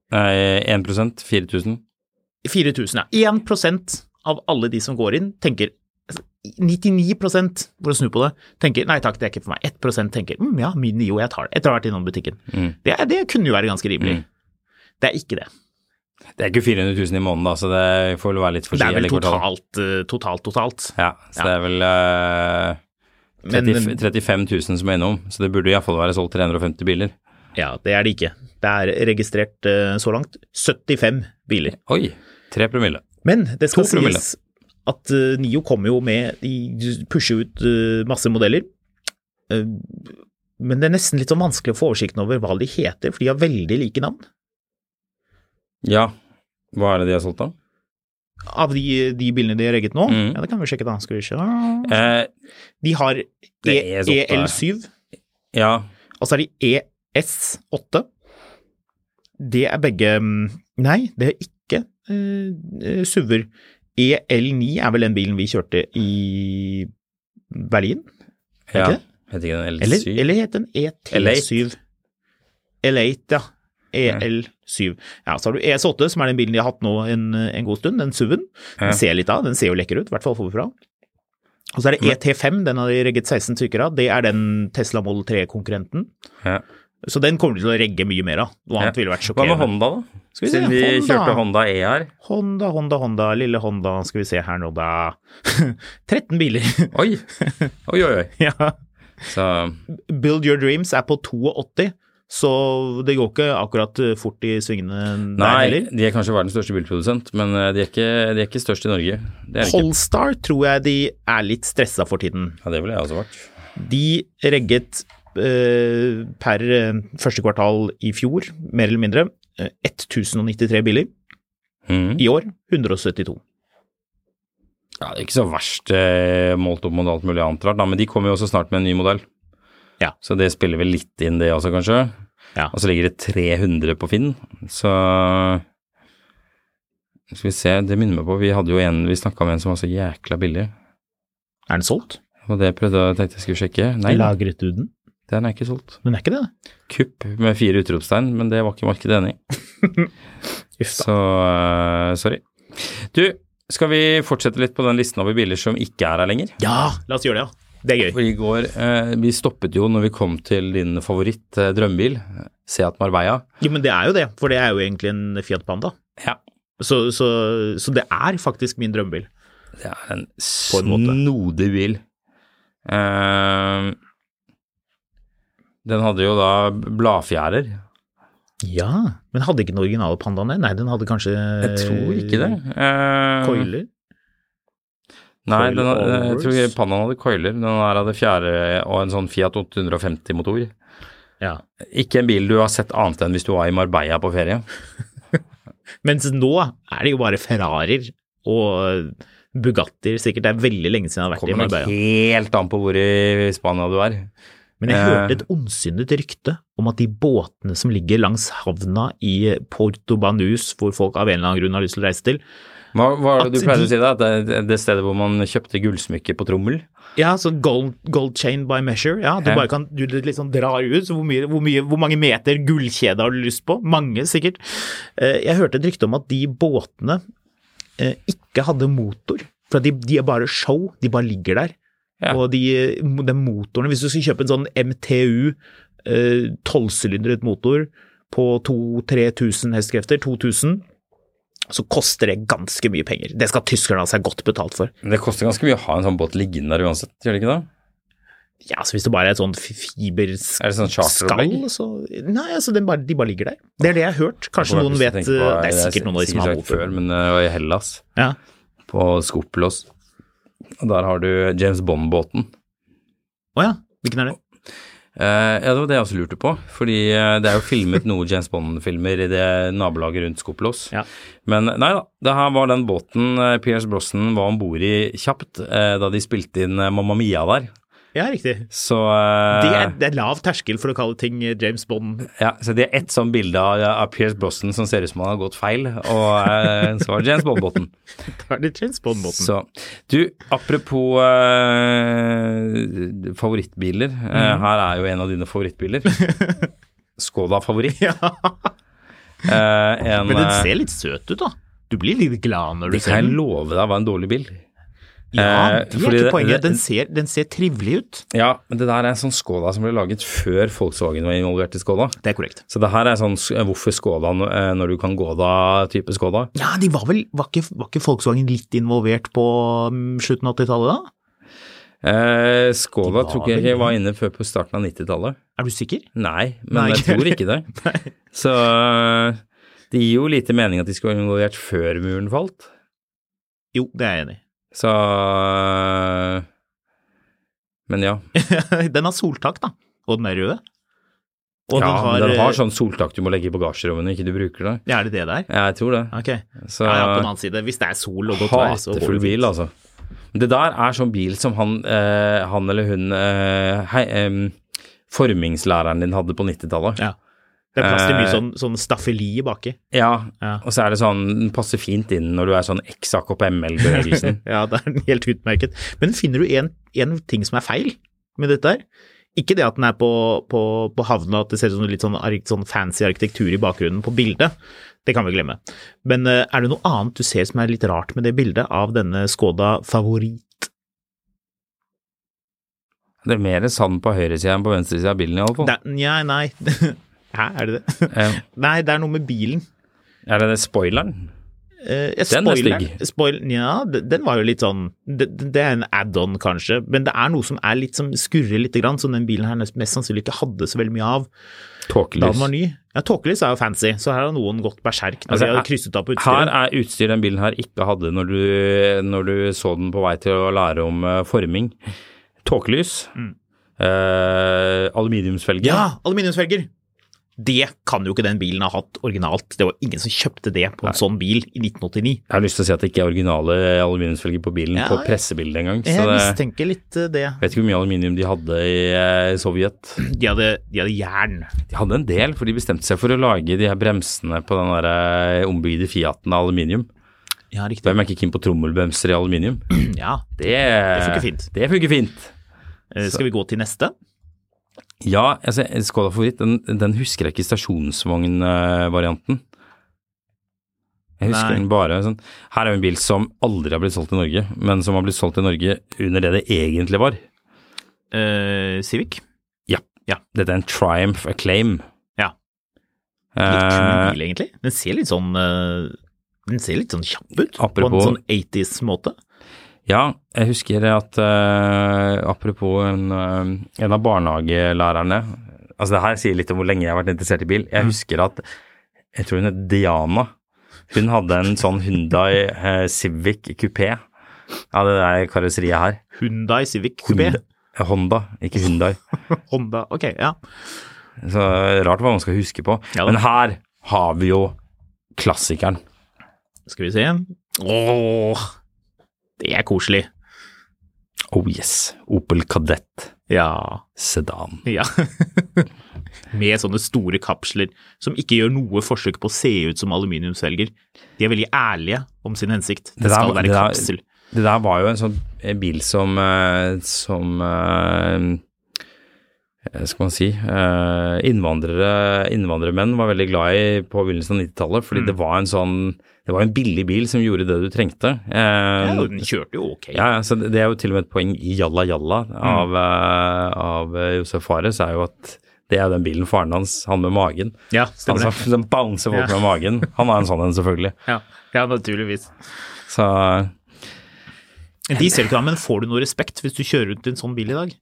Nei, 1 4000.
4000, ja. 1 av alle de som går inn, tenker altså, 99 for å snu på det, tenker nei takk, det er ikke for meg. 1 tenker mm, ja, min Nio, jeg tar det, etter å ha vært innom butikken. Det, er- det kunne jo være ganske rimelig. Det er ikke det.
Det er ikke 400 000 i måneden, da, så det får vel være litt
Det er
forsiktig.
vel
eller kvartal.
totalt, eh, totalt, totalt.
Ja, så det er vel eh,
Men-
30, 35 000 som er innom, så det burde iallfall være solgt 350 biler.
Ja, det er det ikke. Det er registrert eh, så langt 75 biler.
Oi, 3 promille.
Men det skal
To promille.
sies at eh, Nio kommer jo med De pusher ut eh, masse modeller. Eh, men det er nesten litt sånn vanskelig å få oversikten over hva de heter, for de har veldig like navn.
Ja, hva er det de har solgt, da?
Av de, de bilene de har regget nå.
Mm.
Ja, det kan vi sjekke, da. Skal vi se.
Eh,
De har E-
Det er så opptatt.
EL7.
ja,
Og så er det ES8. Det er begge mm, Nei, det er ikke eh, SUV-er. EL9 er vel den bilen vi kjørte i Berlin? Er
Ja.
det ikke det?
Heter ikke den
Eller,
L7?
eller het den E ET7? L8, ja. EL7. Ja, så har du ES8, som er den bilen de har hatt nå en, en god stund, den SUV-en. Den
Ja.
ser litt av, den ser jo lekker ut, i hvert fall forfra. Og så er det ET5, den har de regget 16 stykker av. Det er den Tesla Model 3-konkurrenten.
Ja.
Så den kommer de til å regge mye mer av. Noe annet
Ja.
ville vært
Hva med
sjokkerende.
Honda, da?
Skal vi se,
Siden vi
Honda.
kjørte Honda E her.
Honda, Honda, Honda, lille Honda, skal vi se her nå da. 13 biler.
Oi! Oi, oi, oi.
ja.
Så
Build Your Dreams er på 82, så det går ikke akkurat eh, fort i svingene der
Nei,
heller.
de er kanskje verdens største bilprodusent, men eh, de er ikke, de er ikke størst i Norge. Det er de ikke.
Polestar tror jeg de er litt stressa for tiden.
Ja, det ville jeg også vært.
De regget eh, per eh, første kvartal i fjor, mer eller mindre, eh, 1093 biler.
Mhm.
I år 172.
Ja, det er ikke så verst eh, målt opp mot alt mulig annet rart, da, men de kommer jo også snart med en ny modell.
Ja.
Så det spiller vel litt inn det også, kanskje.
Ja.
Og så ligger det 300 på Finn, så Skal vi se, det minner meg på Vi hadde jo en vi snakka med en som var så jækla billig,
Er den solgt?
og det prøvde jeg tenkte jeg skulle sjekke. Nei,
Lagret du den?
den er ikke solgt.
Den er ikke det?
Kupp med fire utropstegn, men det var ikke markedet enig i.
Uff da.
Så eh, sorry. Du, skal vi fortsette litt på den listen over biler som ikke er her lenger?
Ja, la oss gjøre det, ja. Det er gøy.
For i går, eh, vi stoppet jo når vi kom til din favoritt eh, drømmebil, Seat Marbella.
Jo, men det er jo det, for det er jo egentlig en Fiat Panda.
Ja.
Så, så, så det er faktisk min drømmebil.
Det er en
På en måte.
snodig bil. Eh, den hadde jo da bladfjærer.
Ja, men hadde ikke den originale pandaen det? Nei, den hadde kanskje
Jeg tror ikke det. Eh,
Coiler?
Nei, den,
Coil
hadde- jeg tror
overs.
Pandaen hadde coiler. Den her hadde fjære og en sånn Fiat 850-motor.
Ja.
Ikke en bil du har sett annet enn hvis du var i Marbella på ferie.
Mens nå er det jo bare Ferrarier og Bugattier sikkert. Det er veldig lenge siden jeg har vært i
Kommer nok
Marbella.
helt an på hvor i Spania du er.
Men jeg
Eh.
hørte et ondsinnet rykte om at de båtene som ligger langs havna i Porto Banus, hvor folk av en eller annen grunn har lyst til å reise til
Hva, hva er det
At
du pleide
de-
å si da? At Det, det- det stedet hvor man kjøpte gullsmykker på trommel?
Ja, sånn gold, gold chain by measure. Ja, du
Ja.
bare kan Du liksom drar ut så hvor, mye, hvor, mye, hvor mange meter gullkjede har du lyst på? Mange, sikkert. Eh, Jeg hørte et rykte om at de båtene eh, ikke hadde motor. For at de, de er bare show. De bare ligger der.
Ja.
Og de, de motorene Hvis du skulle kjøpe en sånn MTU eh, tolvsylindret motor på 2000-3000 hestekrefter, 2000, så koster det ganske mye penger. Det skal tyskerne ha seg godt betalt for.
Men Det koster ganske mye å ha en sånn båt liggende der uansett, gjør det ikke det?
Ja, så hvis det bare er et sånt fiberskall,
Er det sånn charteropplegg?
så Nei, altså den bare, de bare ligger der. Det er det jeg har hørt. Kanskje noen vet eh, Det er sikkert noen av de som har
motor. Før,
motor.
men det var i Hellas,
Ja.
på Skopelos. Og der har du James Bond-båten.
Å ja. Hvilken er det?
Eh, ja, det var det jeg også lurte på. Fordi eh, det er jo filmet noen James Bond-filmer i det nabolaget rundt Skopelos.
Ja.
Men nei da, det her var den båten eh, Pierce Brosnan var om bord i kjapt eh, da de spilte inn eh, Mamma Mia der.
Ja, riktig.
Så
Det
eh,
er, det er lav terskel for å kalle ting eh, James Bond.
Ja, så det er ett sånn bilde av, av Pierce Brosnan som ser ut som han har gått feil, og eh, så var det James Bond-båten.
Da er det James Bond-båten.
Så du, apropos eh, favorittbiler, eh, her er jo en av dine favorittbiler. Skoda favoritt.
Ja,
Eh, en,
men den
eh,
ser litt søt ut, da. Du blir litt glad når du
det kan
ser
jeg
den.
love deg var en dårlig bil.
Ja,
eh,
det er
fordi
ikke
det-
poenget. Den
det-
ser, den ser trivelig ut.
Ja, men det der er en sånn Skoda som ble laget før Volkswagen var involvert i Skoda.
Det er korrekt.
Så det her er sånn eh, hvorfor Skoda eh, når du kan gå da-type Skoda.
Ja, de var vel Var ikke, var ikke Volkswagen litt involvert på mm, slutten av 80-tallet, da?
Eh, Skoda
De var
tror ikke jeg
vel-
var inne før på starten av 90-tallet.
Er du sikker?
Nei, men
Nei,
jeg
ikke
tror ikke det. Så eh, det gir jo lite mening at de skulle være involvert før muren falt.
Jo, det er jeg enig i.
Så eh, Men ja.
Den har soltak, da. Og den er rød. Og
ja
den har, eh,
men den har sånn soltak du må legge i bagasjerommet når ikke du bruker det.
Ja, Er det det der?
Jeg tror det.
Ok.
Så
ja, ja, på den annen side, hvis det er sol og godt vær, så går
hatefull
det fint.
bil, altså. Men Det der er sånn bil som han, eh, han eller hun eh, hei, em, formingslæreren din hadde på 90-tallet.
Ja. Det er plass til mye
Eh,
sånn, sånn staffeli baki. Ja.
og så er det sånn, den passer fint inn når du er sånn XAKPML-bevegelsen.
Ja, det er den helt utmerket. Men finner du en, en ting som er feil med dette her? Ikke det at den er på, på, på havna, at det ser ut som litt sånn, ark- sånn fancy arkitektur i bakgrunnen på bildet. Det kan vi glemme. Men eh, er det noe annet du ser som er litt rart med det bildet av denne Skoda Favorit?
det er mer sand på høyresida enn på venstresida av bilen i alle fall.
Det er- Nja, nei. Hæ, er det det?
Eh,
Nei, det er noe med bilen.
er det det spoileren?
Eh, jeg
Den er
spoiler-
stygg.
Spoil, ja, de- den var jo litt sånn Det, det er en add-on, kanskje. Men det er noe som er litt som skurrer lite grann, som den bilen her nest- mest sannsynlig ikke hadde så veldig mye av da den
Tåkelys.
var ny. Ja, Tåkelys er jo fancy, så her har noen gått berserk når
Altså,
de har
her-
krysset av på
Her
utstyret.
er utstyr den bilen her ikke hadde når du, når du så den på vei til å lære om eh, forming. Tåkelys, eh, aluminiumsfelger,
Ja, aluminiumsfelger! Det kan jo ikke den bilen ha hatt originalt. Det var ingen som kjøpte det på en sånn bil i 1989.
Jeg har lyst til å si at det ikke er originale aluminiumsfelger på bilen
Ja,
på
jeg-
pressebildet engang. Så
Jeg
det,
mistenker litt eh, det.
vet ikke hvor mye aluminium de hadde i eh, Sovjet.
De hadde, de hadde jern.
De hadde en del, for de bestemte seg for å lage de her bremsene på den der eh, ombygde Fiaten av aluminium.
Ja, riktig.
Hvem er ikke keen på trommelbremser i aluminium?
Ja.
Det,
funker fint.
Det funker fint.
Eh, Skal vi gå til neste?
Ja, altså, Skoda Favoritt, den, den husker jeg ikke stasjonsvognvarianten. Jeg husker
Nei.
den bare sånn Her er jo en bil som aldri har blitt solgt i Norge, men som har blitt solgt i Norge under det det egentlig var.
Eh, Civic.
Dette er en Triumph Acclaim.
Ja. Litt kul
Eh,
bil, egentlig. Den ser litt sånn eh, den ser litt sånn kjapp ut, på
Apropos-
en sånn 80s-måte.
ja, jeg husker at eh, apropos en, eh, en av barnehagelærerne Altså det her sier litt om hvor lenge jeg har vært interessert i bil. Jeg
Mm.
husker at jeg tror hun het Diana. Hun hadde en sånn Hundai Civic kupé av det der karosseriet her.
Hundai Civic Coupé.
Honda- Honda, ikke Hundai.
Honda, ok, ja.
Så rart hva man skal huske på.
Ja da.
Men her har vi jo klassikeren.
Skal vi se. Åh, det er koselig.
Oh yes, Opel Kadett
Ja.
Sedan.
ja. Med sånne store kapsler som ikke gjør noe forsøk på å se ut som aluminiumsvelger. De er veldig ærlige om sin hensikt. Det,
der
skal
var-
være
det der-
kapsel.
Det der var jo en sånn eh, bil som eh, som eh, eh, skal man si eh, innvandrere, Innvandrermenn var veldig glad i på begynnelsen av 90-tallet, fordi
Mm.
det var en sånn Det var en billig bil som gjorde det du trengte. Eh,
Ja, den kjørte jo ok.
ja, ja, så det det er jo til og med et poeng i Jalla Jalla
Mm.
av, eh, av eh, Josef Fares, er jo at det er den bilen faren hans, han med magen.
Ja,
Han
stemmer
som,
det.
som bouncer folk
Ja.
med magen. Han har en sånn en, selvfølgelig.
Ja, ja naturligvis.
Så
Men De ser du ikke da, men får du noe respekt hvis du kjører rundt i en sånn bil i dag?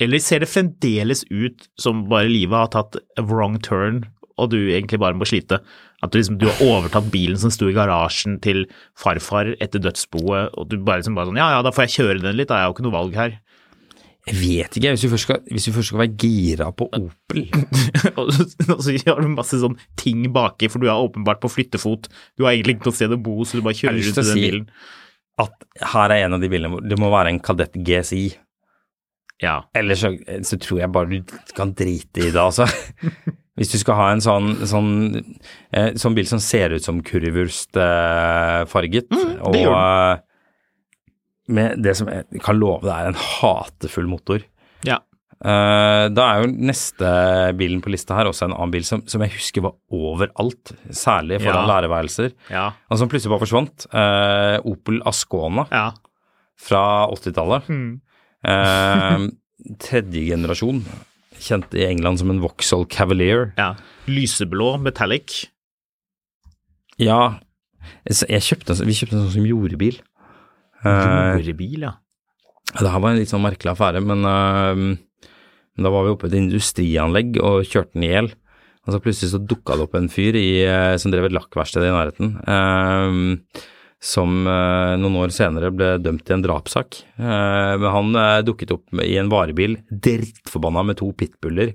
Eller ser det fremdeles ut som bare livet har tatt a wrong turn, og du egentlig bare må slite? At du liksom, du har overtatt bilen som sto i garasjen til farfar etter dødsboet, og du bare liksom bare sånn, ja ja, da får jeg kjøre den litt, da, jeg har jo ikke noe valg her.
Jeg vet ikke, hvis du først skal, hvis du først skal være gira på Opel
og, så, og så har du masse sånn ting baki, for du er åpenbart på flyttefot, du har egentlig ikke noe sted å bo, så du bare
har
kjører
lyst
rundt i
til å
den
si-
bilen.
at her er en av de bilene hvor det må være en Kadett GSI.
Ja.
Ellers så, så tror jeg bare du kan drite i det, altså. Hvis du skal ha en sånn, sånn, eh, sånn bil som ser ut som kurvurst eh, farget, og
Mm, det gjør
eh, med det som jeg kan love det er en hatefull motor.
ja.
Eh, da er jo neste bilen på lista her også en annen bil som, som jeg husker var overalt, særlig
Ja.
foran lærerværelser,
Ja.
og som plutselig bare forsvant. Eh, Opel Ascona
Ja.
fra 80-tallet.
Mm.
Eh, tredje generasjon, kjent i England som en Vauxhall Cavalier.
ja. Lyseblå metallic.
Ja, så jeg kjøpte, en sånn- vi kjøpte en sånn som jordebil. Eh,
Jordbil, ja.
det her var en litt sånn merkelig affære, men eh, men da var vi oppe i et industrianlegg og kjørte den i hjel. Og så plutselig så dukka det opp en fyr i, eh, som drev et lakkverksted i nærheten, eh, som eh, noen år senere ble dømt i en drapssak. Eh, men han eh, dukket opp med, i en varebil, drittforbanna med to pitbuller,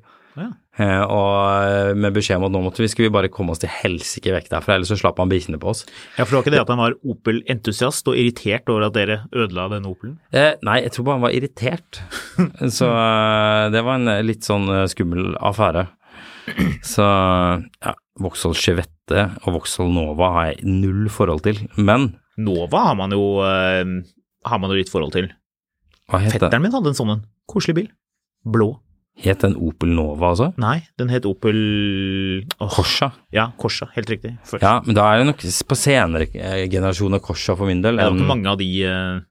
Eh, og med beskjed om at nå måtte vi, skulle vi bare komme oss til helsike vekk derfra, ellers så slapp han bikkjene på oss.
Ja, for det var ikke det at han var Opel-entusiast og irritert over at dere ødela denne Opelen?
Eh, nei, jeg tror bare han var irritert. Så eh, det var en eh, litt sånn eh, skummel affære. Så ja, Vauxhall Chevette og Vauxhall Nova har jeg null forhold til. Men
Nova har man jo, eh, har man jo litt forhold til.
hva het den?
Fetteren min hadde en sånn en. Koselig bil. Blå.
Het den Opel Nova, altså?
Nei, den het Opel Åh,
Corsa.
Ja, Korsa. Helt riktig. Først.
Ja, men da er det nok på senere eh, generasjon av Corsa for min del.
Det var
enn-
ikke mange av de eh,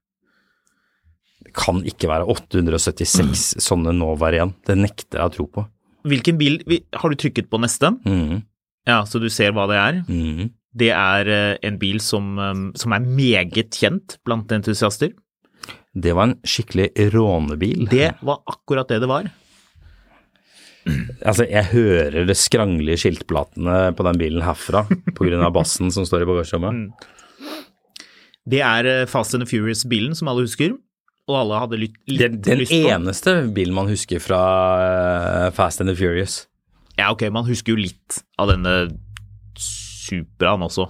kan ikke være
Mm.
876 sånne Novaer igjen. Det nekter jeg å tro på.
Hvilken bil vi- Har du trykket på neste?
Mhm,
Ja, så du ser hva det er.
mhm.
Det er eh, en bil som, eh, som er meget kjent blant entusiaster.
Det var en skikkelig rånebil.
Det var akkurat det det var.
Altså, jeg hører det skrangle i skiltplatene på den bilen herfra pga. bassen som står i bagasjerommet.
Det er eh, Fast and the Furious-bilen som alle husker, og alle hadde lytt, litt
Den, den
lyst på.
eneste bilen man husker fra eh, Fast and the Furious.
Ja, ok, man husker jo litt av denne Supraen også.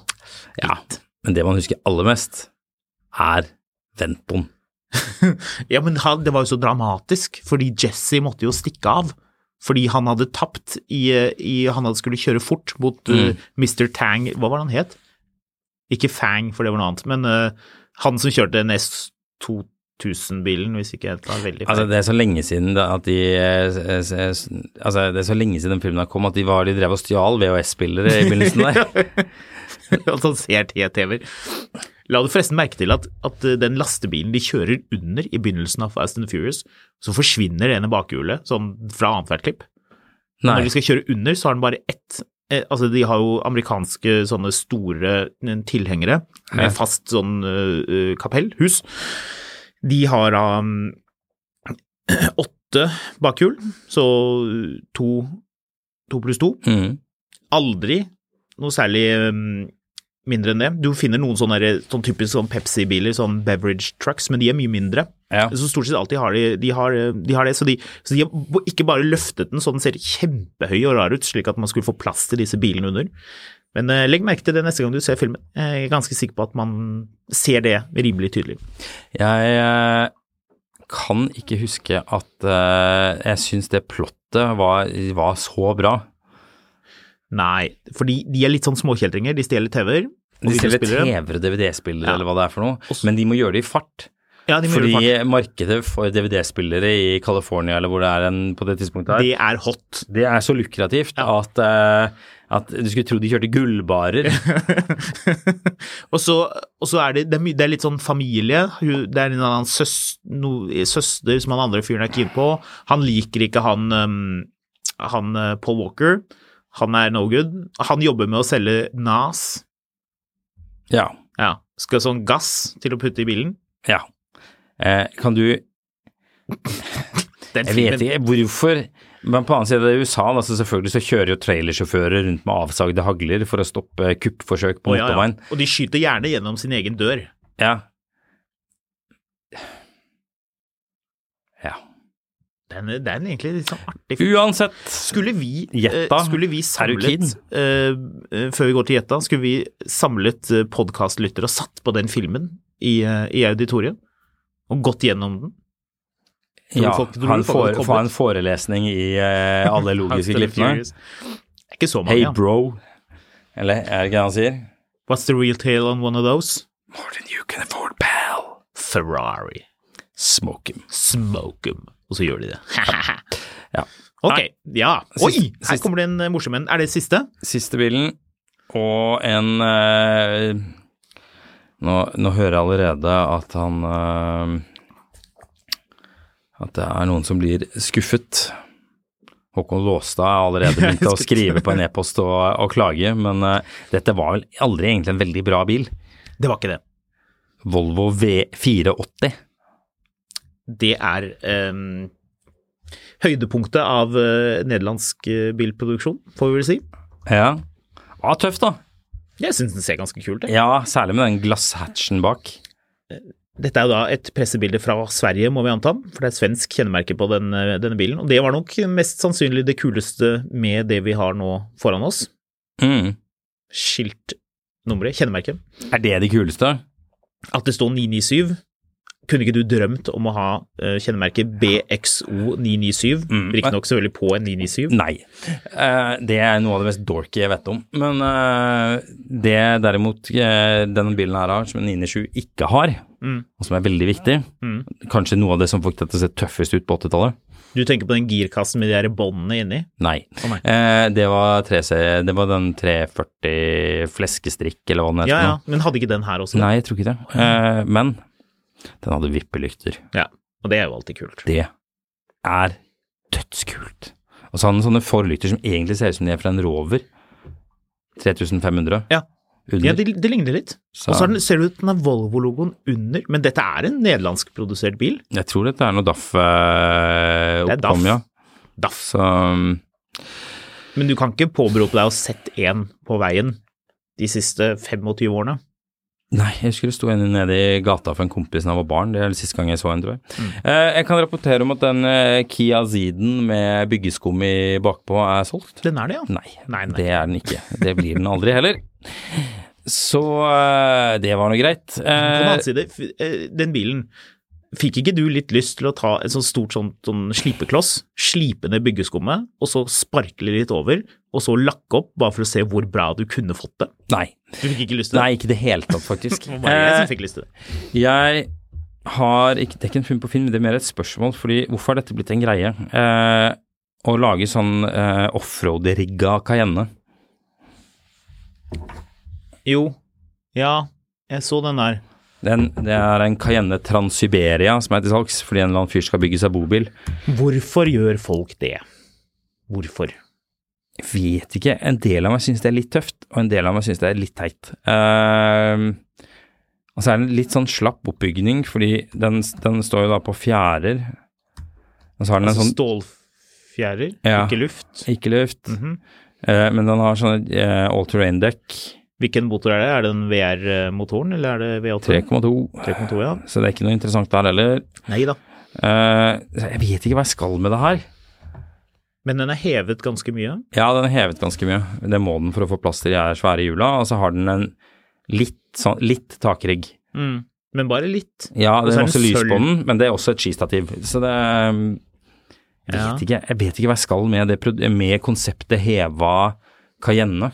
Ja, men det man husker aller mest, er Ventoen.
Ja, men han, det var jo så dramatisk, fordi Jesse måtte jo stikke av. Fordi han hadde tapt i, eh, i Han hadde skulle kjøre fort mot
Mm.
eh, Mr. Tang Hva var det han het? Ikke Fang, for det var noe annet, men eh, han som kjørte den S2000-bilen, hvis ikke jeg tar veldig feil.
Altså, det er så lenge siden da at de eh, s- s- Altså, det er så lenge siden den filmen her kom at de, var, de drev og stjal VHS-spillere i begynnelsen der.
At han ser T-TV-er. La du forresten merke til at, at eh, den lastebilen de kjører under i begynnelsen av Fast and Furious, så forsvinner det ene bakhjulet sånn fra annethvert klipp.
Nei.
Når de skal kjøre under, så har den bare ett. Eh, altså, de har jo amerikanske sånne store eh, tilhengere med fast sånn eh, eh, kapell, hus. De har da mm, åtte bakhjul, så eh, to, to pluss to
Mhm.
aldri noe særlig um, mindre enn det. Du finner noen sånne, der- sånn typisk sånn Pepsi-biler, sånn beverage trucks, men de er mye mindre.
Ja.
Så stort sett alltid har de, de, har, eh, de har det, så de, så de har bo- ikke bare løftet den så den ser kjempehøy og rar ut, slik at man skulle få plass til disse bilene under. Men eh, legg merke til det neste gang du ser filmen. Jeg er ganske sikker på at man ser det rimelig tydelig.
Jeg eh, kan ikke huske at eh, jeg syns det plottet var, var så bra.
Nei, fordi de er litt sånn småkjeltringer. De stjeler TV-er. og
De selger
videospillere.
TV-er og DVD-spillere
Ja.
eller hva det er for noe, men de må gjøre det i fart.
Ja, de må gjøre
Fordi
det fart.
markedet for DVD-spillere i California eller hvor det er en på det tidspunktet her,
Det er hot.
det er så lukrativt at, eh, at du skulle tro de kjørte gullbarer.
Og så, og så er det, det, er mye- det er litt sånn familie. Hun- Det er en eller annen søs, no, søster som han andre fyren er keen på. Han liker ikke han, um, han eh, Paul Walker. Han er no good. Han jobber med å selge NAS,
ja.
ja, skal sånn gass til å putte i bilen.
ja. Eh, kan du
Den
Jeg vet ikke hvorfor, men på annen side det er USA, da, så selvfølgelig så kjører jo trailersjåfører rundt med avsagde hagler for å stoppe kuppforsøk
Å,
på
ja, ja.
motorveien.
Og de skyter gjerne gjennom sin egen dør.
Ja. ja.
Den, er- den er egentlig litt sånn artig.
Uansett,
Skulle vi,
Jetta.
eh, skulle vi
Er du keen?
samlet eh, eh, Før vi går til Jetta, skulle vi samlet eh, podcastlyttere og satt på den filmen i, eh, i auditoriet? Og gått gjennom den? Tror
ja,
folk- tror
ha en,
folk hadde
fore,
koblet.
få en forelesning i eh, alle
Fast
logiske
and
glippene.
Furious. Det er ikke så mange,
Hey
ja.
bro. Eller er det ikke det han sier?
What's the real tale on one of those?
More than you can afford, pal.
Ferrari.
Smoke him.
Smoke 'em. Og så gjør de det.
Ja.
Ok, ja. Oi,
Siste-
her
siste-
kommer det en eh, morsom en. Er det siste?
Siste bilen og en eh, nå, nå hører jeg allerede at han eh, At det er noen som blir skuffet. Håkon Låstad har allerede begynt å skrive på en e-post og, og klage, men eh, dette var vel aldri egentlig en veldig bra bil.
Det var ikke det.
Volvo V480.
det er ehm, høydepunktet av eh, nederlandsk eh, bilproduksjon, får vi vel si.
Ja. Ah, tøft, da.
Jeg syns den ser ganske kul ut. jeg.
Ja, særlig med den glasshatchen bak.
Dette er jo da et pressebilde fra Sverige, må vi anta, for det er et svensk kjennemerke på den, eh, denne bilen. Og det var nok mest sannsynlig det kuleste med det vi har nå foran oss.
Mm.
Skiltnummeret, kjennemerket.
Er det det kuleste?
At det står 997. Kunne ikke du drømt om å ha eh, kjennemerket BXO997?
Mm.
Riktignok selvfølgelig på en 997.
Nei. Eh, det er noe av det mest dorky jeg vet om. Men eh, det derimot eh, denne bilen her har, som en 997 ikke har,
Mm.
og som er veldig viktig,
Mm.
kanskje noe av det som fikk det til å se tøffest ut på 80-tallet,
Du tenker på den girkassen med de der båndene inni?
Nei.
Å, nei.
Eh, det, var 3C, det var den 340 fleskestrikk, eller hva den heter.
Ja, ja,
nå.
men hadde ikke den her også?
Nei, jeg tror ikke det. Eh, men den hadde vippelykter.
Ja, og det er jo alltid kult.
Det er dødskult. Og så hadde den sånne forlykter som egentlig ser ut som de er fra en Rover. 3500.
Ja.
Under.
Ja, det, det ligner litt.
Så-
Og så er den- ser det ut som den er Volvo-logoen under, men dette er en nederlandskprodusert bil.
Jeg tror dette er noe DAF eh,
Det er DAF.
oppkom, ja.
DAF.
Så um,
Men du kan ikke påberope deg å ha sett én på veien de siste 25 årene.
Nei, jeg husker det sto en nede i gata for en kompis da jeg var barn. Det er siste gang jeg så en, tror jeg.
Mm.
Eh, jeg kan rapportere om at den eh, Kia Zeeden med byggeskum i bakpå er solgt.
Den er det, ja.
Nei,
Nei, nei.
det er den ikke. Det blir den aldri heller. Så eh, det var nå greit.
På den
Eh,
annen side, f- eh, den bilen Fikk ikke du litt lyst til å ta et sånt stort sånt, sånn slipekloss, slipe ned byggeskummet, og så sparkle litt over, og så lakke opp bare for å se hvor bra du kunne fått det?
nei.
Du fikk ikke lyst til det?
Nei, ikke i det hele tatt, faktisk.
Det var bare jeg som
Eh,
fikk lyst til det.
Jeg har ikke, Det er ikke en film på film, men det er mer et spørsmål. fordi Hvorfor har dette blitt en greie? Eh, å lage sånn eh, offroad-rigga Cayenne.
Jo. Ja, jeg så den der.
Den, det er en Cayenne Transsiberia som er til salgs, fordi en eller annen fyr skal bygge seg bobil.
Hvorfor gjør folk det? Hvorfor?
Jeg vet ikke. En del av meg syns det er litt tøft, og en del av meg syns det er litt teit. Eh, og så er det en litt sånn slapp oppbygning, fordi den, den står jo da på fjærer. Og så har den en
Altså
sånn
stålfjærer,
Ja.
ikke Mhm. luft.
ikke løft, eh, men den har sånn eh, all terrain dekk.
Hvilken motor er det? Er det den VR-motoren, eller er det V8?
3,2.
3,2, ja.
Så det er ikke noe interessant der heller.
Nei da.
Eh, så jeg vet ikke hva jeg skal med det her.
Men den er hevet ganske mye.
Ja, den er hevet ganske mye. Det må den for å få plass til de her svære hjula. Og så har den en litt, sånn, litt takrigg.
Men bare litt.
Ja,
Og
det
så
er
er
masse
den
lys
sølv.
på den, men det er også et skistativ. Så det eh, jeg
Ja.
vet ikke, Jeg vet ikke hva jeg skal med, det, prod- med konseptet heva Cayenne.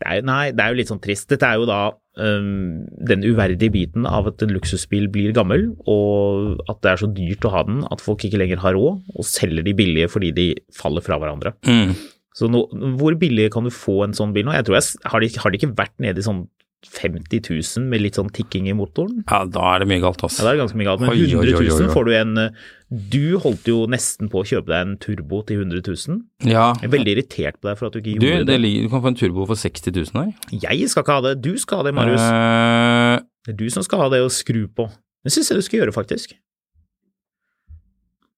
Det er, nei, det er jo litt sånn trist. Dette er jo da øhm, den uverdige biten av at en luksusbil blir gammel, og at det er så dyrt å ha den at folk ikke lenger har råd, og selger de billige fordi de faller fra hverandre.
Mm.
Så nå, hvor billig kan du få en sånn bil nå? Jeg tror jeg, s- har, det, har det ikke vært nede i sånn 50 000 med litt sånn tikking i motoren?
Ja, da er det mye galt, altså.
Ja, det er ganske mye galt, men
Oi, oi, oi,
100
oi,
000
oi.
får du en eh, Du holdt jo nesten på å kjøpe deg en turbo til 100 000.
Ja.
Jeg er veldig irritert på deg for at du ikke
Du,
gjorde
det
det.
ligger, du kan få en turbo for 60 000 her.
Jeg skal ikke ha det, du skal ha det, Marius.
Eh,
Det er du som skal ha det å skru på. Det syns jeg du skal gjøre, faktisk.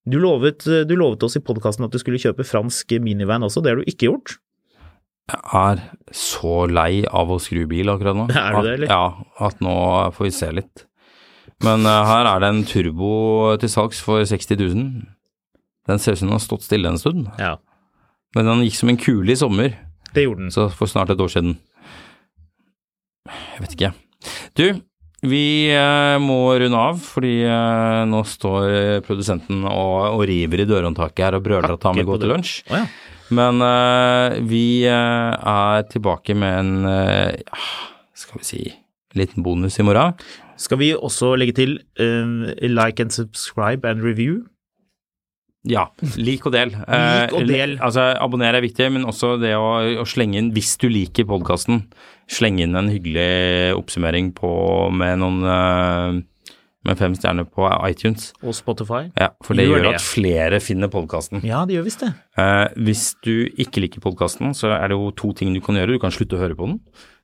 Du lovet, eh, du lovet oss i podkasten at du skulle kjøpe fransk minivan også, det har du ikke gjort.
Eh, er så lei av å skru bil akkurat nå.
Er du
At-
det, eller?
Ja, at nå får vi se litt. Men eh, her er det en turbo til salgs for 60 000. Den ser ut som den har stått stille en stund,
Ja,
men den gikk som en kule i sommer,
det gjorde den.
så for snart et år siden. Jeg vet ikke. Du, vi eh, må runde av, fordi eh, nå står produsenten og, og river i dørhåndtaket her og brøler at han vil
Hakker
gå
på
til
det.
lunsj.
Å ja.
Men eh, vi eh, er tilbake med en eh, skal vi si liten bonus i morgen.
Skal vi også legge til eh, like and subscribe and review?
Ja, lik og del. Eh,
Lik og del.
altså, abonner er viktig, men også det å, å slenge inn, hvis du liker podkasten, slenge inn en hyggelig oppsummering på, med noen eh, med fem stjerner på iTunes.
Og Spotify?
Ja, for det
Gjør
gjør
det.
at flere finner podkasten.
Ja, det gjør visst det.
Eh, hvis du ikke liker podkasten, så er det jo to ting du kan gjøre. Du kan slutte å høre på den.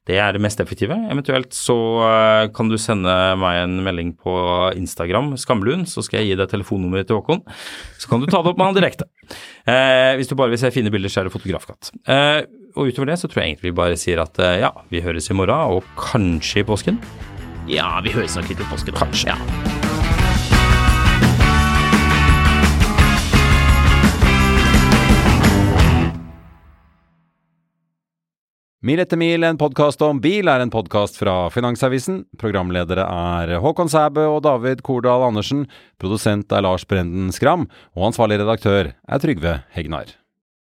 Det er det mest effektive. Eventuelt så eh, kan du sende meg en melding på Instagram, Skamlund, så skal jeg gi deg telefonnummeret til Håkon. Så kan du ta det opp med han direkte. Eh, hvis du bare vil se fine bilder, så er det Fotografkatt. Eh, og utover det så tror jeg egentlig vi bare sier at eh, ja, vi høres i morgen, og kanskje i påsken.
Ja, vi høres nok litt i påsken. Kanskje. Ja.
Mil etter mil, en podkast om bil, er en podkast fra Finansavisen. Programledere er Håkon Sæbø og David Kordal Andersen. Produsent er Lars Brenden Skram. Og ansvarlig redaktør er Trygve Hegnar.